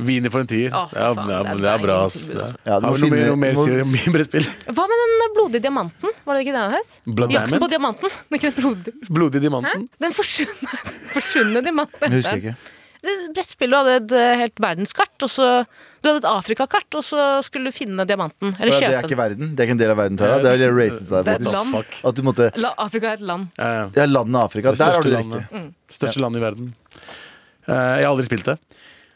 S3: Wiener for en tier.
S4: Å, fy
S3: ja,
S4: faen,
S3: det, er,
S4: det er
S3: det er bra,
S4: deilig
S3: ass.
S4: tilbud,
S3: Det
S4: altså.
S3: er-
S2: Ja, du må
S3: Har vi noe mer,
S2: finne
S3: noe mer å si
S2: må-
S3: om min brettspill?
S4: Hva med den blodige diamanten? Var det ikke det den het?
S3: Blood
S4: Jakten på
S3: Diamond?
S4: diamanten. Det er ikke den blodige.
S3: Blodig
S4: Hæ?
S3: diamanten?
S4: Den forsvunne, forsvunne diamanten.
S2: Jeg husker ikke.
S4: Det er et brettspill, du hadde et eh, helt verdenskart, og så Du hadde et Afrikakart, og så skulle du finne diamanten. Eller
S2: Ja, Det
S4: kjøpe
S2: er ikke
S4: den.
S2: verden. Det er ikke en del av verden. Tara. Det er det races der,
S4: Det er et
S2: faktisk.
S4: land.
S3: Fuck.
S2: At du måtte
S4: La Afrika er et land.
S3: Eh,
S2: Ja, landet Afrika.
S3: Det
S2: Der har du det
S3: største
S2: riktig.
S4: Mm.
S3: Største land i verden. Eh, jeg har aldri spilt det.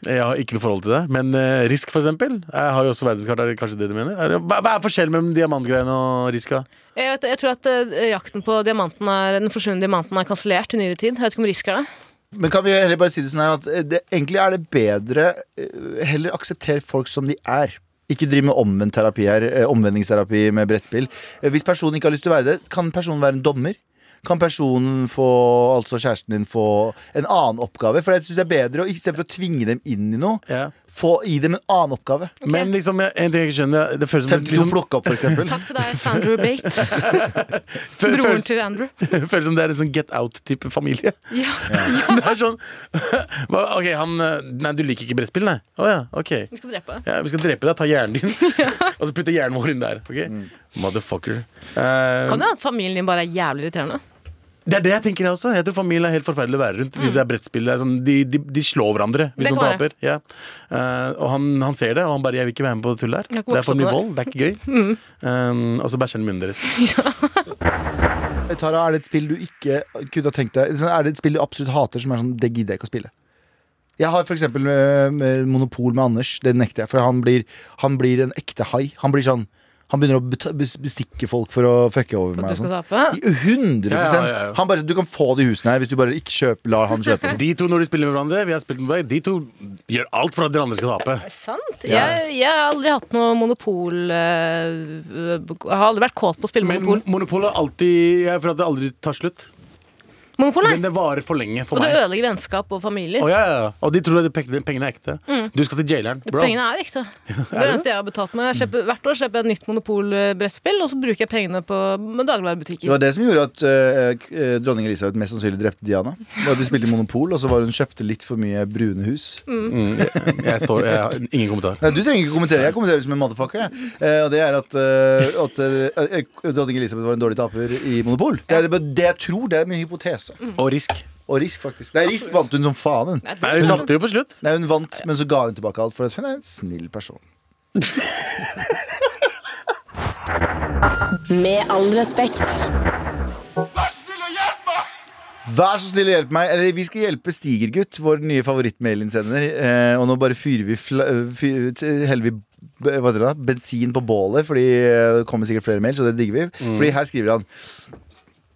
S3: Jeg har ikke noe forhold til det. Men eh, Risk, for eksempel. Jeg har jo også verdenskart. Er det kanskje det du mener? Er det, hva, hva er forskjellen mellom diamantgreiene og Riska?
S4: Jeg, vet, jeg tror at eh, jakten på diamanten er, den forsvunne diamanten er kansellert i nyere tid. Jeg vet ikke om risk er det.
S2: Men kan vi heller bare si det sånn her at eh, det, egentlig er det bedre eh, Heller aksepter folk som de er. Ikke driv med omvendt terapi her. eh, Omvendingsterapi med brettspill. Eh, Hvis personen ikke har lyst til å være det, kan personen være en dommer? Kan personen få, altså kjæresten din få en annen oppgave? For jeg synes det er bedre å ikke istedenfor å tvinge dem inn i noe,
S3: Ja.
S2: få i dem en annen oppgave.
S3: Men liksom, jeg, en ting jeg ikke skjønner Det føles som,
S2: 52
S3: liksom,
S2: plukke opp, for eksempel.
S4: Takk til deg, Sandrew Bates.
S3: fø-
S4: Broren
S3: føles,
S4: til Andrew.
S3: føles som det er en sånn get out-type familie.
S4: Ja.
S3: Det er sånn hva- Ok, han eh, Nei, du liker ikke brettspill, nei? Å ja, ok.
S4: Vi skal drepe deg.
S3: Ja, vi skal drepe deg, ta hjernen din, og så putte hjernen vår inn der. ok?
S2: Mm.
S3: Motherfucker. Eh,
S4: Kan jo hende at familien din bare er jævlig irriterende.
S3: Det er det jeg tenker jeg også. Jeg tror familien er helt forferdelig å være rundt. Hvis det er brettspill det er sånn, de, de, de slår hverandre hvis
S4: Mm. Det
S3: noen
S4: kan være.
S3: taper. Ja. Eh, og han, han ser det, og han bare 'jeg vil ikke være med på det tullet her'.
S4: Jeg har ikke
S3: Det er for
S4: vokst
S3: mye
S4: opp
S3: vold. Det er ikke gøy.
S4: Mm.
S3: Eh, og så bæsjer han i munnen deres.
S2: Tara, er det et spill du ikke kunne ha tenkt deg sånn, Er det et spill du absolutt hater som er sånn, det gidder jeg ikke å spille? Jeg har for eksempel eh, øh, med Monopol med Anders. Det nekter jeg, for han blir, han blir en ekte hai. Han blir sånn Han begynner å beta- bes- bestikke folk for å fucke over
S4: For
S2: meg. og
S4: at du skal
S2: sånn.
S4: tape.
S2: I 100
S3: Ja, ja, ja.
S2: Han bare, Du kan få de husene her hvis du bare ikke kjøper, lar han kjøpe.
S3: De to når de spiller med hverandre, vi har spilt med hverandre, de to gjør alt for at dere andre skal tape.
S4: Sant?
S2: Ja.
S4: Jeg, jeg har aldri hatt noe monopol eh, Jeg har aldri vært kåt på å spille
S3: Men
S4: monopol.
S3: monopol er alltid Jeg føler at det aldri tar slutt.
S4: Monopol,
S3: Men
S4: nei.
S3: det varer for lenge for
S4: Og det
S3: meg.
S4: ødelegger vennskap og familier.
S3: Å, ja, ja. ja. Og de tror at de pengene pengene er ekte. Du skal til jaileren, bro.
S4: Mm. Pengene er ekte. Det er det eneste jeg har betalt med. Jeg kjøper, hvert år kjøper jeg et nytt monopolbrettspill, og så bruker jeg pengene på med
S2: Det
S4: dagligvarebutikker.
S2: var det som gjorde at eh, k- eh, dronning Elisabeth mest sannsynlig drepte Diana. Det var at De spilte Monopol, og så var hun kjøpte litt for mye brune hus.
S3: Mm, jeg, jeg står, jeg har ingen kommentar.
S2: Nei, Du trenger ikke kommentere. Jeg kommenterer som en motherfucker. Jeg. Eh, og det er at, eh, at eh, eh, dronning Elisabeth var en dårlig taper i Monopol. Det er det det jeg tror. Det er min hypotese.
S3: Og risk.
S2: Og Risk, faktisk. Nei, Risk vant hun som faen, hun.
S3: Mm. Nei, Hun tapte jo på slutt.
S2: Nei, hun vant, men så ga hun tilbake alt, for at hun er en snill person.
S5: Med all respekt.
S2: Vær så snill og hjelp meg. Eller, vi skal hjelpe Stigergutt, vår nye favorittmailinnsender. Eh, og nå bare fyrer vi fla eh, fyr, t- Heller vi b- hva heter det, da? bensin på bålet, Fordi eh, det kommer sikkert flere mails, og det digger vi. Fordi her skriver han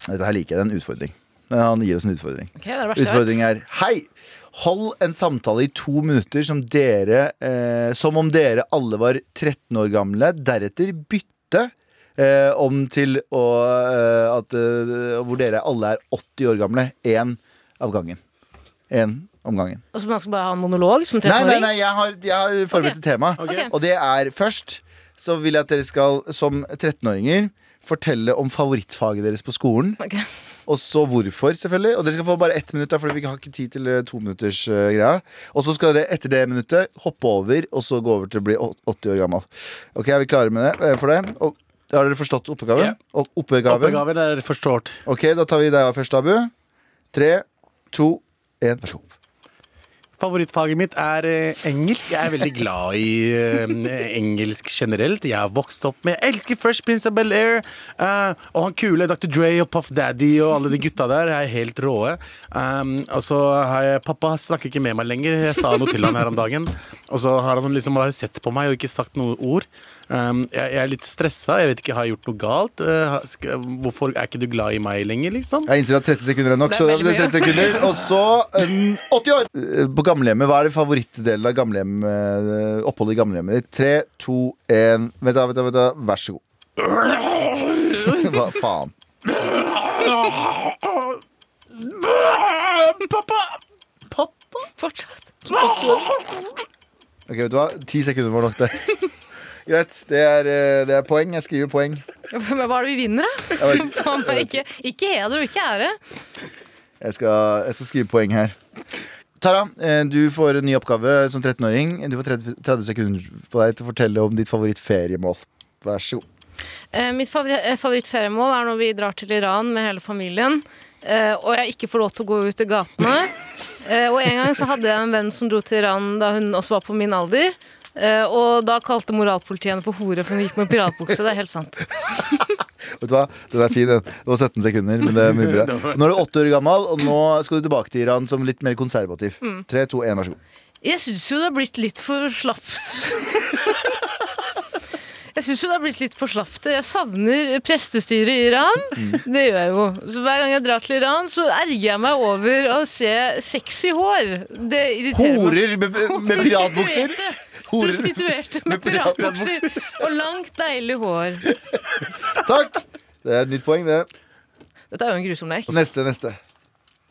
S2: Dette her liker jeg. Det er en utfordring. Eh, Han gir oss en utfordring.
S4: Ok, det er det verste jeg vet.
S2: Utfordringen er Hei! Hold en samtale i to minutter som, dere, eh, som om dere alle var 13 år gamle. Deretter bytte eh, om til å, eh, at, eh, hvor dere alle er 80 år gamle. Én av gangen. Én om gangen.
S4: Og så man skal bare ha en monolog som
S2: Nei, nei,
S4: treåring?
S2: nei, jeg har, jeg har forberedt et tema.
S4: Ok.
S2: Og det er først så vil jeg at dere skal som 13-åringer fortelle om favorittfaget deres på skolen.
S4: Ok.
S2: Og så hvorfor, selvfølgelig. Og dere skal få bare ett minutt, da, fordi vi har ikke tid til eh, to minutters eh, greia. Og så skal dere etter det minuttet hoppe over, og så gå over til å bli åt- 80 år gammel. Ok, er vi klare med det, eh, for det? Og, har dere forstått oppgaven?
S3: Ja.
S2: Og oppgaven?
S3: Oppgaven er forstått.
S2: Ok, da tar vi deg først, Abu. Tre, to, én, vær så god.
S3: Favorittfaget mitt er eh, engelsk. Jeg er veldig glad i eh, engelsk generelt. Jeg har vokst opp med Jeg elsker Fresh Prince of Bel-Air. eh, og han kule Dr. Dre og Puff Daddy og alle de gutta der er helt råe. Um, og så har jeg Pappa snakker ikke med meg lenger. Jeg sa noe til han her om dagen. Og så har han liksom bare sett på meg og ikke sagt noen ord. Um, jeg, jeg er litt stressa. Jeg vet ikke, har jeg gjort noe galt? Eh, har- skal, hvorfor er ikke du glad i meg lenger, liksom?
S2: Jeg innser at 30 sekunder er nok.
S4: Det er
S2: så
S4: veldig
S2: det er 30 sekunder Og så um, 80 år! Eh, På gamlehjemmet, Hva er det favorittdelen av gamlehjem, eh, oppholdet i gamlehjemmet ditt? Tre, to, én Vent, da, vent, da, vent da. Vær så god. Hva faen?
S3: Ah, Pappa! Pappa?
S4: Fortsatt.
S2: Ok, vet du hva? Ti sekunder var nok, det. Greit. Det er, eh, det er poeng. Jeg skriver poeng.
S4: Men hva er det vi vinner, da?
S2: Jeg, vet,
S4: Faen meg, Ikke, ikke heder og ikke ære.
S2: jeg, skal, jeg skal skrive poeng her. Tara, eh, du får en ny oppgave som 13-åring. Du får 30, 30 sekunder på deg til å fortelle om ditt favorittferiemål. Vær så god.
S4: Eh, mitt favori eh, favorittferiemål er når vi drar til Iran med hele familien, eh, og jeg ikke får lov til å gå ut i gatene. Eh, og en gang så hadde jeg en venn som dro til Iran da hun også var på min alder. Eh, og da kalte moralpolitiet henne for hore, for hun gikk med piratbukse. Det er helt sant.
S2: Vet du hva? Den er fin, den. Det var 17 sekunder, men det er mye bra. Nå er du åtte år gammel, og nå skal du tilbake til Iran som litt mer konservativ.
S4: Mm.
S2: Tre, to, én, vær så god.
S4: Jeg syns jo det har blitt litt for slapt. Jeg syns jo det har blitt litt for slapt. Jeg savner prestestyret i Iran.
S2: Mm.
S4: Det gjør jeg jo. Så hver gang jeg drar til Iran, så erger jeg meg over å se sexy hår. Det irriterer meg.
S2: Horer med, med piratbukser!
S4: Prostituerte.
S2: Horer.
S4: Prostituerte med piratbukser og langt, deilig hår.
S2: Takk! Det er et nytt poeng, det.
S4: Dette er jo en grusom lek.
S2: Neste, neste.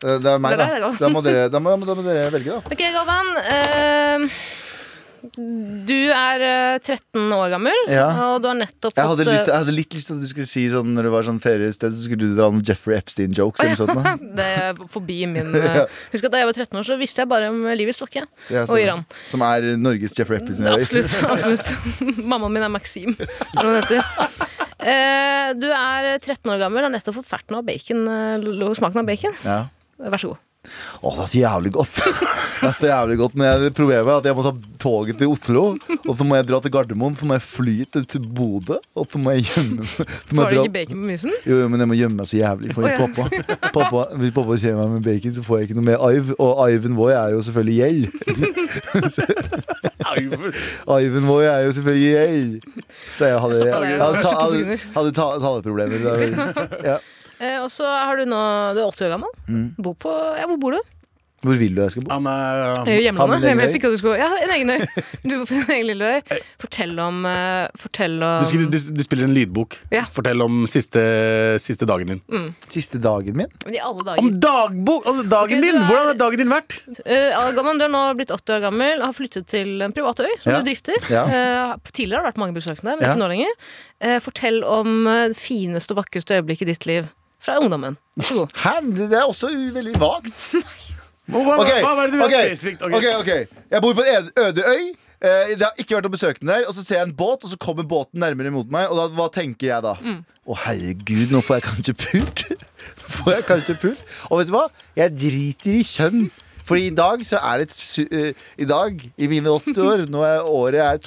S2: Eh, Det er meg,
S4: Det er
S2: da.
S4: deg, da.
S2: Da må dere, da må, da må dere velge, da.
S4: Ok, Galvan. eh, du er eh, 13 år gammel,
S2: Ja.
S4: og du har nettopp
S2: Jeg hadde,
S4: fått, eh,
S2: lyst, jeg hadde litt lyst til at du skulle si sånn når det var sånn feriested, så skulle du dra noen Jeffrey Epstein-jokes eller noe sånt.
S4: Det er forbi min eh,
S2: Ja.
S4: Husk at da jeg var 13 år, så visste jeg bare om livet i Stokke.
S2: da. Ja,
S4: Og Iran.
S2: Som er Norges Jeffrey Epstein. eller?
S4: Absolutt. absolutt Mammaen min er Maxim, eller hva hun heter. Eh, du er 13 år gammel og har nettopp fått ferten av bacon, eh, lo- smaken av bacon.
S2: Ja.
S4: Vær så god.
S2: Å, det er så jævlig godt. Det er så jævlig godt Men jeg, Problemet er at jeg må ta toget til Oslo, og så må jeg dra til Gardermoen, så må jeg fly til til Bodø, og så må jeg gjemme så må jeg
S4: Var det
S2: dra-
S4: ikke bacon på musen?
S2: Jo, jo, men jeg må gjemme meg så jævlig for
S4: Å, ja.
S2: pappa. pappa. Hvis pappa kjenner meg med bacon, så får jeg ikke noe mer Ive. Og Iven Voi er jo selvfølgelig gjeld. Iven Voi er jo selvfølgelig gjeld. Så jeg hadde,
S4: Stoppa
S2: jeg
S4: der,
S2: hadde,
S4: ja.
S2: ta- hadde,
S4: Slutt å
S2: hadde ta, taleproblemer. Det er vel-
S4: Eh, og så har du nå Du er 80 år gammel.
S2: Mm.
S4: Bor på Ja, hvor bor du?
S2: Hvor vil du jeg skal bo?
S3: Han er
S4: Eh,
S2: har
S4: Hjemlandet.
S2: du en egen
S4: Jeg
S2: øy?
S4: helst ikke at du skulle Ja, en egen øy. Du bor på din egen lille øy. Fortell om eh, Fortell om
S3: du, skal, du, du spiller en lydbok.
S4: Ja. Mm.
S3: Fortell om siste, siste dagen din.
S2: Siste dagen min?
S4: Men i alle
S3: Om
S4: dager.
S3: dagbok! Altså dagen
S4: Ok, du
S3: din!
S4: er-
S3: Hvordan har dagen din vært?
S4: Eh, Algamon, du er nå blitt 80 år gammel, har flyttet til en privat øy som
S2: Ja.
S4: du drifter.
S2: Ja.
S4: Eh, tidligere har det vært mange besøkende, men
S2: Ja.
S4: ikke nå lenger. Eh, fortell om eh, det fineste og vakreste øyeblikket i ditt liv fra ungdommen. Vær så god.
S2: Hæ? Det det er også u- veldig vagt.
S3: Hva, hva,
S2: Ok,
S3: hva var det du
S2: ok,
S3: gjorde spesifikt? Ok.
S2: ok, ok. Jeg bor på en ed- øde øy. Eh, Det har ikke vært noen besøkende der. Og så ser jeg en båt, og så kommer båten nærmere mot meg. Og da, hva tenker jeg da? Å, herregud, nå får jeg kanskje pult. får jeg kanskje pult. Og vet du hva? Jeg driter i kjønn. For i dag så er det et su eh, I dag, i mine 80 år, nå er året er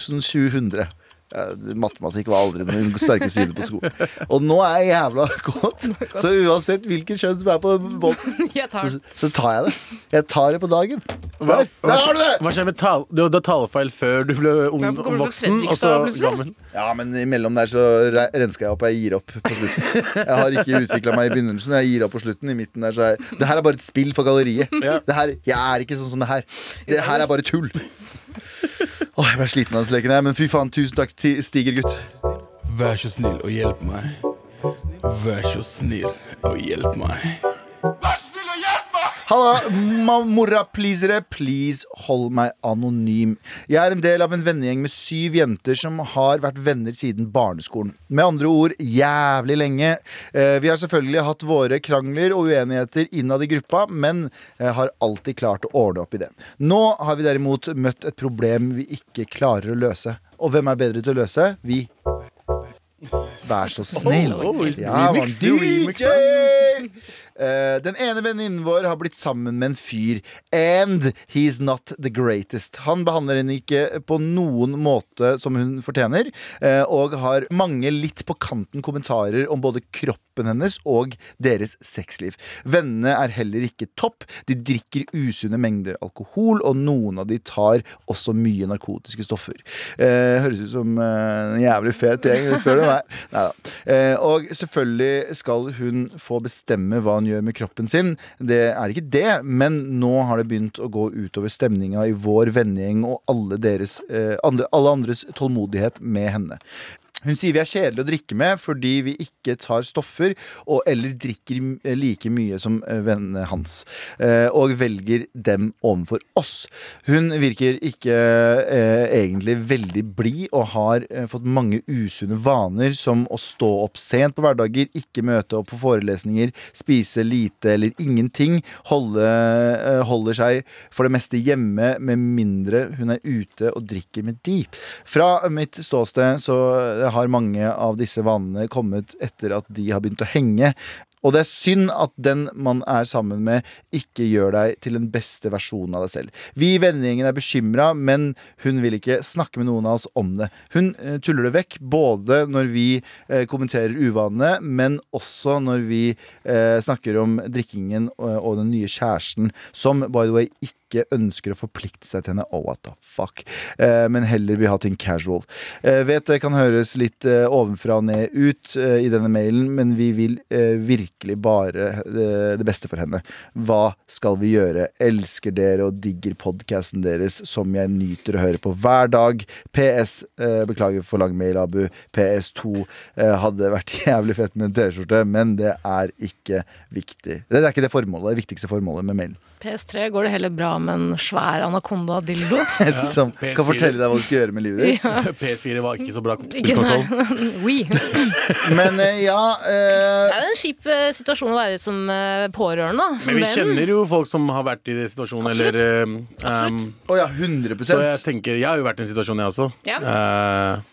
S2: 2700. Eh, Matematikk var aldri min sterke side på skolen. Og nå er jeg jævla kåt. Så uansett hvilket kjønn som er på den båten,
S4: Jeg tar
S2: så, så tar jeg det. Jeg tar det på dagen. Der, der har du det!
S3: Hva skjer med tal... Du hadde talefeil før du ble ung,
S4: Ja, kommer du fra
S3: voksen, og så
S4: Fredrikstad plutselig?
S3: gammel.
S2: Ja, men imellom der så re- rensker jeg opp. Jeg gir opp på slutten. Jeg har ikke utvikla meg i begynnelsen. Jeg gir opp på slutten. I midten der så er Det her er bare et spill for galleriet.
S3: Ja.
S2: Det her, jeg er ikke sånn som det her. Det her er bare tull. Åh, jeg ble sliten av den leken her, men fy faen. Tusen takk, Ti- Stiger gutt.
S3: Vær så snill og hjelp meg. Vær så snill og hjelp meg.
S2: Halla, ma- morapleasere. Please hold meg anonym. Jeg er en del av en vennegjeng med syv jenter som har vært venner siden barneskolen. Med andre ord jævlig lenge. Eh, Vi har selvfølgelig hatt våre krangler og uenigheter innad i gruppa, men eh, har alltid klart å ordne opp i det. Nå har vi derimot møtt et problem vi ikke klarer å løse. Og hvem er bedre til å løse? Vi. Vær så snill.
S3: Oh, oh,
S2: Ja, man,
S3: remix, du remix,
S2: DJ! Eh, den ene venninnen vår har blitt sammen med en fyr, and he's not the greatest. Han behandler henne ikke på noen måte som hun fortjener, eh, og har mange litt på kanten kommentarer om både kroppen hennes og deres sexliv. Vennene er heller ikke topp. De drikker usunne mengder alkohol, og noen av de tar også mye narkotiske stoffer. Eh, høres ut som eh, en jævlig fet gjeng, hvis du spør du meg. Neida. Eh, og selvfølgelig skal hun få bestemme hva hun gjør med kroppen sin. Det er ikke det, men nå har det begynt å gå utover stemninga i vår vennegjeng og alle, deres, eh, andre, alle andres tålmodighet med henne. Hun sier vi er kjedelige å drikke med fordi vi ikke tar stoffer og eller drikker m- like mye som eh, vennene hans, eh, og velger dem overfor oss. Hun virker ikke eh, egentlig veldig blid og har eh, fått mange usunne vaner som å stå opp sent på hverdager, ikke møte opp på forelesninger, spise lite eller ingenting, holde, eh, holder seg for det meste hjemme med mindre hun er ute og drikker med de. Fra mitt ståsted så har mange av disse vanene kommet etter at de har begynt å henge. Og det er synd at den man er sammen med, ikke gjør deg til den beste versjonen av deg selv. Vi i vennegjengen er bekymra, men hun vil ikke snakke med noen av oss om det. Hun eh, tuller det vekk, både når vi eh, kommenterer uvanene, men også når vi eh, snakker om drikkingen og, og den nye kjæresten, som by the way ikke ikke ønsker å forplikte seg til henne, oh, what the fuck, eh, men heller vil ha ting casual. Eh, vet det kan høres litt eh, ovenfra og ned ut eh, i denne mailen, men vi vil eh, virkelig bare eh, det beste for henne. Hva skal vi gjøre? Elsker dere og digger podcasten deres, som jeg nyter å høre på hver dag. PS, eh, beklager for lang mail, Abu. PS2 eh, hadde vært jævlig fett med en T-skjorte, men det er ikke viktig. Det er ikke det formålet, det viktigste formålet med mailen.
S4: PS3 går det heller bra med en svær anakonda-dildo.
S2: som
S3: PS4.
S2: kan fortelle deg hva du skal gjøre med livet ditt.
S3: PS4 var ikke så bra
S4: Ikke- nei,
S3: spillkonsoll.
S2: sånn.
S4: oui. Det
S2: Men eh, ja eh,
S4: er jo en kjip eh, situasjon å være i som eh, pårørende. da, Som
S3: Men vi
S4: venn.
S3: kjenner jo folk som har vært i den situasjonen, eller eh, um,
S2: Å ja, 100
S3: Så jeg tenker, jeg har jo vært i en situasjon, jeg også.
S4: Ja.
S3: Eh,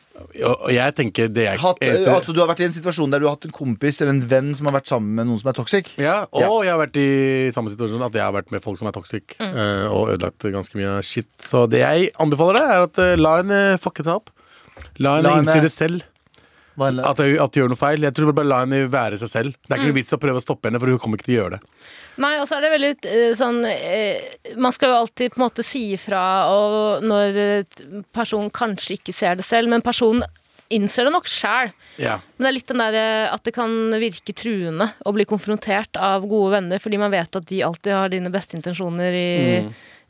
S3: Og og jeg tenker det jeg
S2: Hatt,
S3: eneste-
S2: altså, du har vært i en situasjon der du har hatt en kompis eller en venn som har vært sammen med noen som er toxic?
S3: Ja, og
S2: Ja.
S3: jeg har vært i samme situasjon at jeg har vært med folk som er toxic
S4: Mm.
S3: eh, og ødelagt ganske mye av shit. Så det jeg anbefaler deg, er at eh, la henne fucke seg opp. La henne
S2: La henne-
S3: innse det selv,
S2: Hva er det?
S3: at hun at hun gjør noe feil. Jeg tror bare La henne være seg selv. Det er ikke noe
S4: Mm.
S3: vits å prøve å stoppe henne, for hun kommer ikke til å gjøre det.
S4: Nei, og så er det veldig eh, sånn eh, Man skal jo alltid på en måte si ifra og når eh, personen kanskje ikke ser det selv, men personen innser det nok sjæl.
S3: Ja.
S4: Men det er litt den der eh, at det kan virke truende å bli konfrontert av gode venner, fordi man vet at de alltid har dine beste intensjoner i,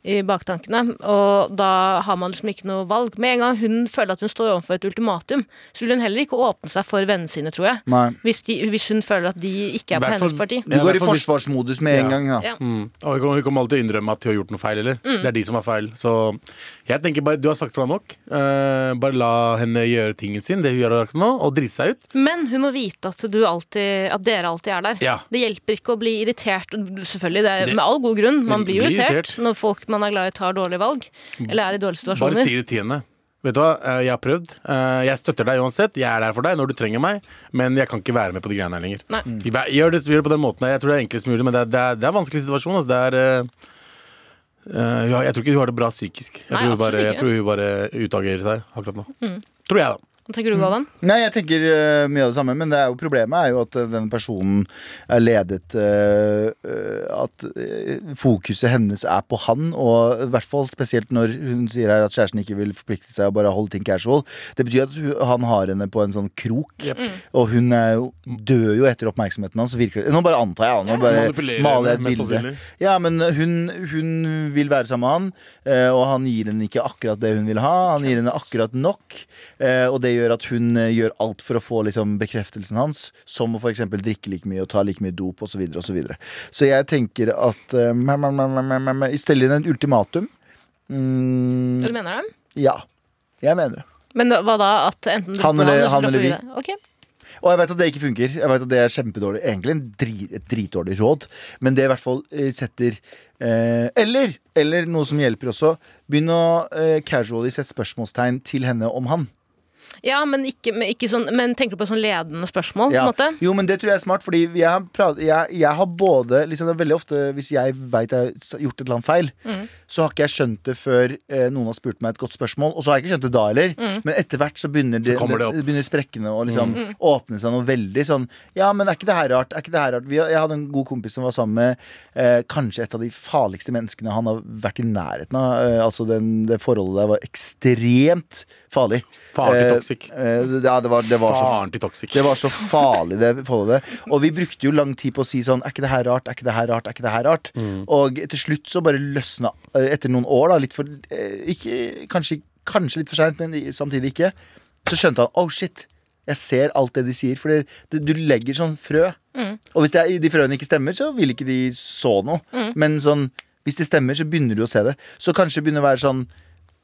S4: i baktankene. Og da har man liksom ikke noe valg. Med en gang hun føler at hun står overfor et ultimatum, så vil hun heller ikke åpne seg for vennene sine, tror jeg.
S2: Nei.
S4: Hvis, de, hvis hun føler at de ikke er på
S3: Hvertfall-
S4: hennes parti.
S2: Du
S3: Ja,
S2: går i
S3: hvertfall hvis-
S2: forsvarsmodus med en
S3: Ja.
S2: gang, ja.
S4: Ja.
S3: Mm. Og hun kommer- hun kommer alltid til å innrømme at hun har gjort noe feil, eller?
S4: Mm.
S3: Det er de som har feil. Så jeg tenker bare, du har sagt fra nok. Eh, bare la henne gjøre tingen sin, det hun gjør akkurat nå, og drite seg ut.
S4: Men hun må vite at, du alltid, at dere alltid er der.
S3: Ja.
S4: Det hjelper ikke å bli irritert. Selvfølgelig, det er
S3: Det-
S4: med all god grunn. Man
S3: Det
S4: blir jo
S3: blir
S4: irritert,
S3: irritert. Mm.
S4: når folk man er glad i, tar dårlige valg. Eller er i dårlige situasjoner.
S3: Bare si det til henne. Vet du hva, Eh, jeg har prøvd. Eh, Jeg støtter deg uansett. Jeg er der for deg når du trenger meg, men jeg kan ikke være med på de greiene her lenger.
S4: Nei.
S3: Vær- Gjør det, gjør det på den måten. her. Jeg tror det er enklest mulig, men det er, det er, det er en vanskelig situasjon. Altså. Det er, eh, eh, ja, jeg tror ikke hun har det bra psykisk. Jeg,
S4: Nei,
S3: tror, hun bare,
S4: absolutt
S3: jeg
S4: ikke. Mm.
S3: tror hun bare utagerer seg akkurat nå. Tror jeg, da.
S4: Hva tenker du,
S3: Mm.
S4: Galvan?
S2: Nei, jeg tenker eh, mye av det samme, men det er jo, problemet er jo at eh, denne personen er ledet eh, eh, At eh, fokuset hennes er på han, og i hvert fall spesielt når hun sier her at kjæresten ikke vil forplikte seg og bare holde ting casual. Det betyr at hun, han har henne på en sånn krok,
S3: Jep.
S2: og hun er jo, dør jo etter oppmerksomheten hans. Virker det. Nå bare antar jeg, nå
S3: Manipulerer
S2: bare maler jeg
S3: henne,
S2: et
S3: mest
S2: bilde.
S3: sannsynlig.
S2: Ja, men hun, hun vil være sammen med han, eh, og han gir henne ikke akkurat det hun vil ha. Han gir henne akkurat nok, eh, og det gjør at hun eh, gjør alt for å få liksom, bekreftelsen hans, som å f.eks. drikke like mye og ta like mye dop osv. Så, videre, og så, videre. så jeg tenker at eh, meh, meh, meh, meh, meh, meh, Stell inn et ultimatum. Mm,
S4: Hva du mener du?
S2: ja. Jeg mener det.
S4: Men da- hva da? At enten du
S2: Han
S4: dropper
S2: eller-
S4: så
S2: han
S4: dropper
S2: eller vi.
S4: det? Ok.
S2: Og jeg vet at det ikke funker. Jeg vet at det er kjempedårlig Egentlig en dri, et dritdårlig råd, men det i hvert fall eh, setter eh, Eller eller noe som hjelper også. Begynn å eh, casually sette spørsmålstegn til henne om han.
S4: Ja, men, ikke, men, ikke sånn, men tenker du på sånn ledende spørsmål?
S2: Ja.
S4: På en måte?
S2: Jo, men det tror jeg er smart, fordi jeg har, prat, jeg, jeg har både liksom, det er Veldig ofte hvis jeg veit jeg har gjort et eller annet feil,
S4: Mm.
S2: så har ikke jeg skjønt det før eh, noen har spurt meg et godt spørsmål. Og så har jeg ikke skjønt det da heller,
S4: Mm.
S2: men etter hvert så begynner, det,
S3: kommer det opp.
S2: begynner sprekkene å liksom, åpne seg noe veldig sånn Ja, men er ikke det her rart? Er ikke det her rart? Vi, jeg hadde en god kompis som var sammen med eh, kanskje et av de farligste menneskene han har vært i nærheten av. Eh, altså den, det forholdet der var ekstremt farlig.
S3: Farlig
S2: Eh,
S3: toxic.
S2: Eh, ja, det var, det var så
S3: Faren til toxic.
S2: det var så farlig, det forholdet. Og vi brukte jo lang tid på å si sånn Er ikke det her rart? Er ikke det her rart? Er ikke det her rart?
S3: Mm.
S2: Og til slutt så bare løsna eh, Etter noen år, da, litt for eh, ikke, kanskje, kanskje litt for seint, men i- samtidig ikke. Så skjønte han Oh shit, jeg ser alt det de sier. For det, det, du legger sånn frø. Og hvis det er, de frøene ikke stemmer, så vil ikke de så noe. Men sånn hvis det stemmer, så begynner du å se det. Så kanskje begynne å være sånn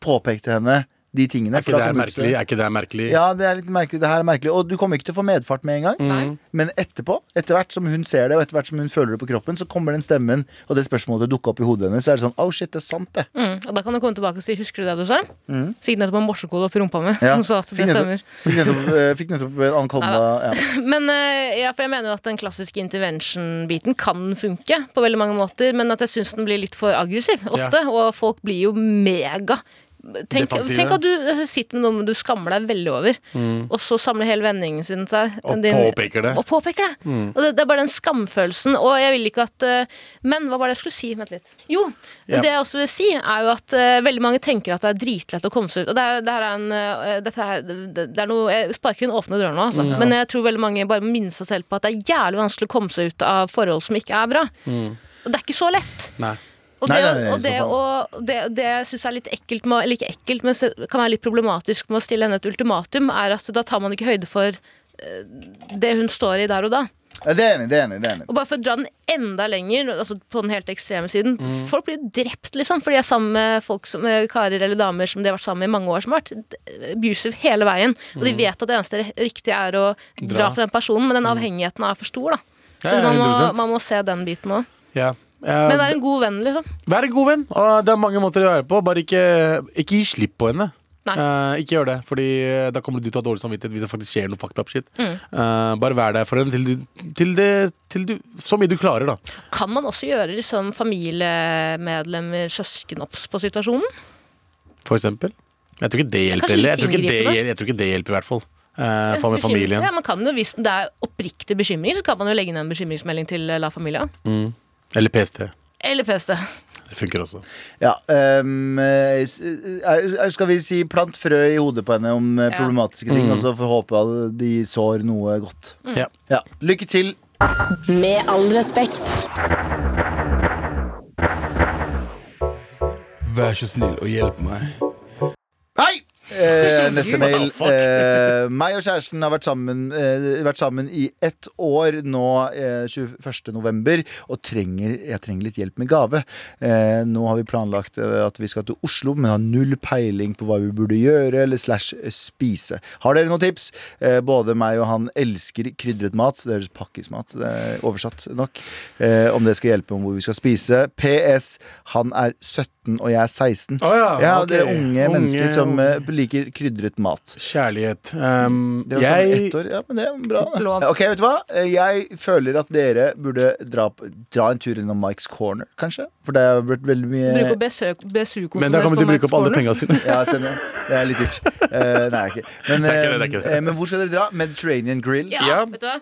S2: Påpek til henne de tingene.
S3: Er
S2: for
S3: ikke
S2: da
S3: det
S2: kommer du til å se-
S3: merkelig? Er ikke det merkelig? Mm.
S2: ja, det er litt merkelig. Det her er merkelig. Og du kommer ikke til å få medfart med en gang. Men etterpå, etter hvert som hun ser det, og etter hvert som hun føler det på kroppen, så kommer den stemmen og det spørsmålet til å dukke opp i hodet hennes. Så er det sånn Oh shit, det er sant, det.
S4: Mm. Og da kan du komme tilbake og si 'husker du det du sa'? Fikk nettopp en morsekode opp i rumpa mi
S2: Mm. Ja.
S4: og sa at
S2: Fikk
S4: det
S2: nettopp-
S4: stemmer.
S2: Fikk nettopp, eh, fikk nettopp en ankomma ja.
S4: Men eh, ja, for jeg mener jo at den klassiske intervention-biten kan funke på veldig mange måter, men at jeg syns den blir litt for aggressiv ofte, og folk blir jo mega Tenk,
S3: Defensive. Mm.
S4: tenk at du eh, sitter med noe du skammer deg veldig over, og så samler hele vendingen sin seg.
S3: Og
S4: din-
S3: påpeker det. Mm.
S4: Og påpeker det. Og det, det er bare den skamfølelsen. Og jeg vil ikke at eh, Men hva var det jeg skulle si? Vent litt. Jo,
S3: Ja.
S4: det jeg også vil si, er jo at eh, veldig mange tenker at det er dritlett å komme seg ut. Og det er, det her er en eh, dette her, det, det er noe Jeg sparker inn åpne dører nå, altså.
S3: Mm.
S4: Men jeg tror veldig mange bare må minne seg selv på at det er jævlig vanskelig å komme seg ut av forhold som ikke er bra.
S3: Mm.
S4: Og det er ikke så lett.
S3: Nei.
S4: Og det,
S2: Nei, nei, nei,
S4: og
S2: i
S4: det,
S2: så
S4: og det, det jeg syns er litt ekkelt, med, å- eller ikke ekkelt, men så- kan være litt problematisk med å stille henne et ultimatum, er at da tar man ikke høyde for eh, det hun står i der og da.
S2: ja. Det er enig, det er enig. det er enig
S4: Og bare for å dra den enda lenger, altså på den helt ekstreme siden
S2: Mm.
S4: Folk blir jo drept, liksom, fordi de er sammen med folk som, med karer eller damer som de har vært sammen med i mange år, som har vært eh, abusive hele veien. Og
S2: Mm.
S4: de vet at det eneste re- riktige er å dra,
S3: Dra.
S4: fra den personen, men
S2: Mm.
S4: den avhengigheten er for stor, da.
S3: Ja,
S4: Så
S3: ja,
S4: man, må,
S3: 100%.
S4: man må se den biten òg.
S3: Ja.
S4: Men
S3: Eh,
S4: være en god venn, liksom.
S3: Vær en god venn. Og det er mange måter å være på. Bare ikke, ikke gi slipp på henne.
S4: Nei.
S3: Eh, ikke gjør det, Fordi eh, da kommer du til å ha dårlig samvittighet hvis det faktisk skjer noe fucked up shit.
S4: Mm.
S3: Eh, bare vær der for henne til, du- til, det- til du Så mye du klarer, da.
S4: Kan man også gjøre liksom, familiemedlemmer søsken obs på situasjonen?
S3: For eksempel. Jeg tror ikke det hjelper
S4: kanskje
S3: heller. Jeg,
S4: litt
S3: tror ikke det
S4: inngripende.
S3: hjel- jeg tror ikke det hjelper, i hvert fall. Eh, for med
S4: Bekymring-
S3: familien.
S4: Ja, man kan jo, Hvis det er oppriktige bekymringer, så kan man jo legge ned en bekymringsmelding til eh, La Familia.
S3: Mm. Eller PST.
S4: Eller PST.
S3: Det funker også.
S2: Ja, ehm, eh, s- er, er- skal vi si plant frø i hodet på henne om eh,
S4: Ja.
S2: problematiske ting,
S3: Mm.
S2: og så får håpe at de sår noe godt.
S4: Mm.
S3: Ja.
S2: Ja, Lykke til.
S5: Med all respekt.
S3: Vær så snill og hjelp meg.
S2: Hei! Eh, neste
S3: What the
S2: mail.
S3: fuck?
S2: Eh, meg og kjæresten har vært sammen, eh, vært sammen i ett år nå eh, 21. november, og trenger, jeg trenger litt hjelp med gave. Eh, nå har vi planlagt eh, at vi skal til Oslo, men har null peiling på hva vi burde gjøre eller slash spise. Har dere noen tips? Eh, både meg og han elsker krydret mat. Det høres pakkismat, det er oversatt nok. Eh, om det skal hjelpe om hvor vi skal spise. PS. Han er 17, og jeg er 16.
S3: Å ja,
S2: Ja,
S3: ok.
S2: dere er unge,
S3: Unge,
S2: mennesker som
S3: unge.
S2: eh, Mm. liker krydret mat.
S3: Kjærlighet. Um,
S2: Dere var sammen i
S3: jeg
S2: sånn ett år. Ja, men det er bra. da.
S4: Lov.
S2: Ok, vet du hva? Eh, Jeg føler at dere burde dra, på- dra en tur innom Mike's Corner, kanskje. For det har blitt veldig mye
S4: Bruke BSU-kontoen
S3: Men da kommer de bruke opp alle pengene sine.
S2: ja, stemmer. Det er litt dyrt. Eh, nei, ikke. Men,
S3: Det er ikke det, det er
S2: eh,
S3: ikke det.
S2: eh, men hvor skal dere dra? Mediterranean Grill?
S4: Ja,
S3: Ja.
S4: vet du hva?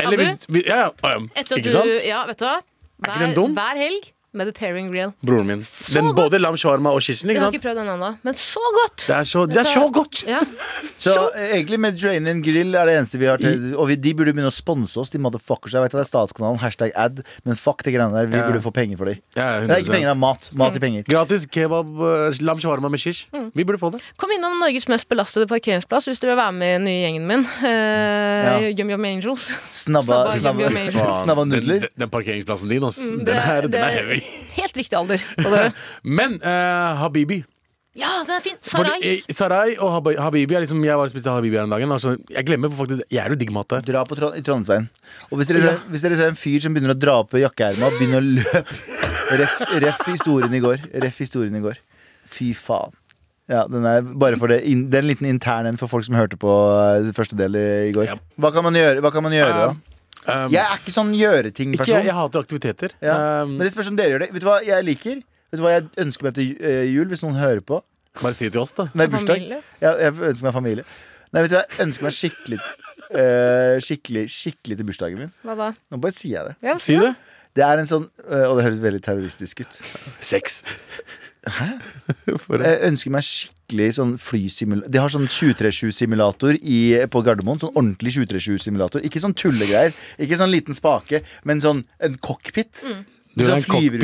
S3: Eller hvis, hvis ja, ja,
S4: Etter
S3: ja.
S4: at
S3: Ikke sant?
S4: du, ja, vet du hva?
S3: Er ikke den dum?
S4: Hver helg Mediterranean Grill.
S3: Broren min. Den
S4: godt.
S3: både lam shawarma og kishen,
S4: Jeg
S3: ikke
S4: har
S3: sant?
S4: ikke prøvd den ennå, men så godt!
S3: Det er så, det er så godt!
S4: Ja.
S2: Så eh, egentlig Mediterranean Grill er det eneste vi har til Og vi, de burde begynne å sponse oss, de motherfuckers. Jeg vet at det er statskanalen, hashtag ad, men fuck de greiene der. Vi
S3: Ja.
S2: burde få penger for de.
S3: Ja,
S2: Det er ikke penger, det er mat. Mat i penger.
S3: Gratis kebab, eh, lam shawarma med kish. Vi burde få det.
S4: Kom innom Norges mest belastede parkeringsplass hvis du vil være med i den nye gjengen min. Eh,
S2: Ja.
S4: Yum Yum Angels.
S2: Snabba,
S4: Snabba-
S2: snabba,
S4: Yum Yum
S2: snabba, nudler.
S3: Den, den parkeringsplassen din, ass.
S4: Mm,
S3: den,
S4: det-
S3: er, den er
S4: det-
S3: heavy.
S4: Helt riktig alder på dere.
S3: Men eh, Habibi
S4: Ja, den er fin!
S3: Fordi,
S4: Sarais.
S3: eh, Sarai og Habi- Habibi er liksom, Jeg var og spiste Habibi her en dag. Altså, jeg glemmer hvor faktisk Jeg er jo digg mat der.
S2: Dra på Trond- i Trondheimsveien. Og hvis dere, ser, hvis dere ser en fyr som begynner å dra på jakkeerma, begynn å løpe ref, ref historien i går. Ref historien i går. Fy faen. Ja, den er bare for det, in, det er en liten intern en for folk som hørte på eh, første del i, i går.
S3: Ja.
S2: Hva kan man gjøre, hva kan man gjøre da?
S3: Um,
S2: Jeg er ikke sånn
S3: ikke,
S2: gjøre-ting-person.
S3: jeg, jeg hater aktiviteter.
S2: Ja.
S3: Um,
S2: Men det spørs om dere gjør det. Vet du hva jeg liker? Vet du hva jeg ønsker meg til eh, jul, hvis noen hører på?
S3: bare si det til oss, da.
S2: Nei, bursdag.
S4: Familie.
S2: Jeg, jeg ønsker meg familie. Nei, vet du hva? Jeg ønsker meg skikkelig, eh, skikkelig, skikkelig til bursdagen min.
S4: Hva da?
S2: Nå bare sier jeg det.
S4: Ja,
S3: Si det.
S2: Det er en sånn, øh, og det høres veldig terroristisk ut
S3: Sex.
S2: Jeg Eh, ønsker meg skikkelig sånn flysimulator De har sånn 2320-simulator i- på Gardermoen Sånn ordentlig 2320-simulator Ikke sånn tullegreier, ikke sånn liten spake Men sånn en cockpit
S3: Du vil ha
S2: Sånn
S3: en cockpit.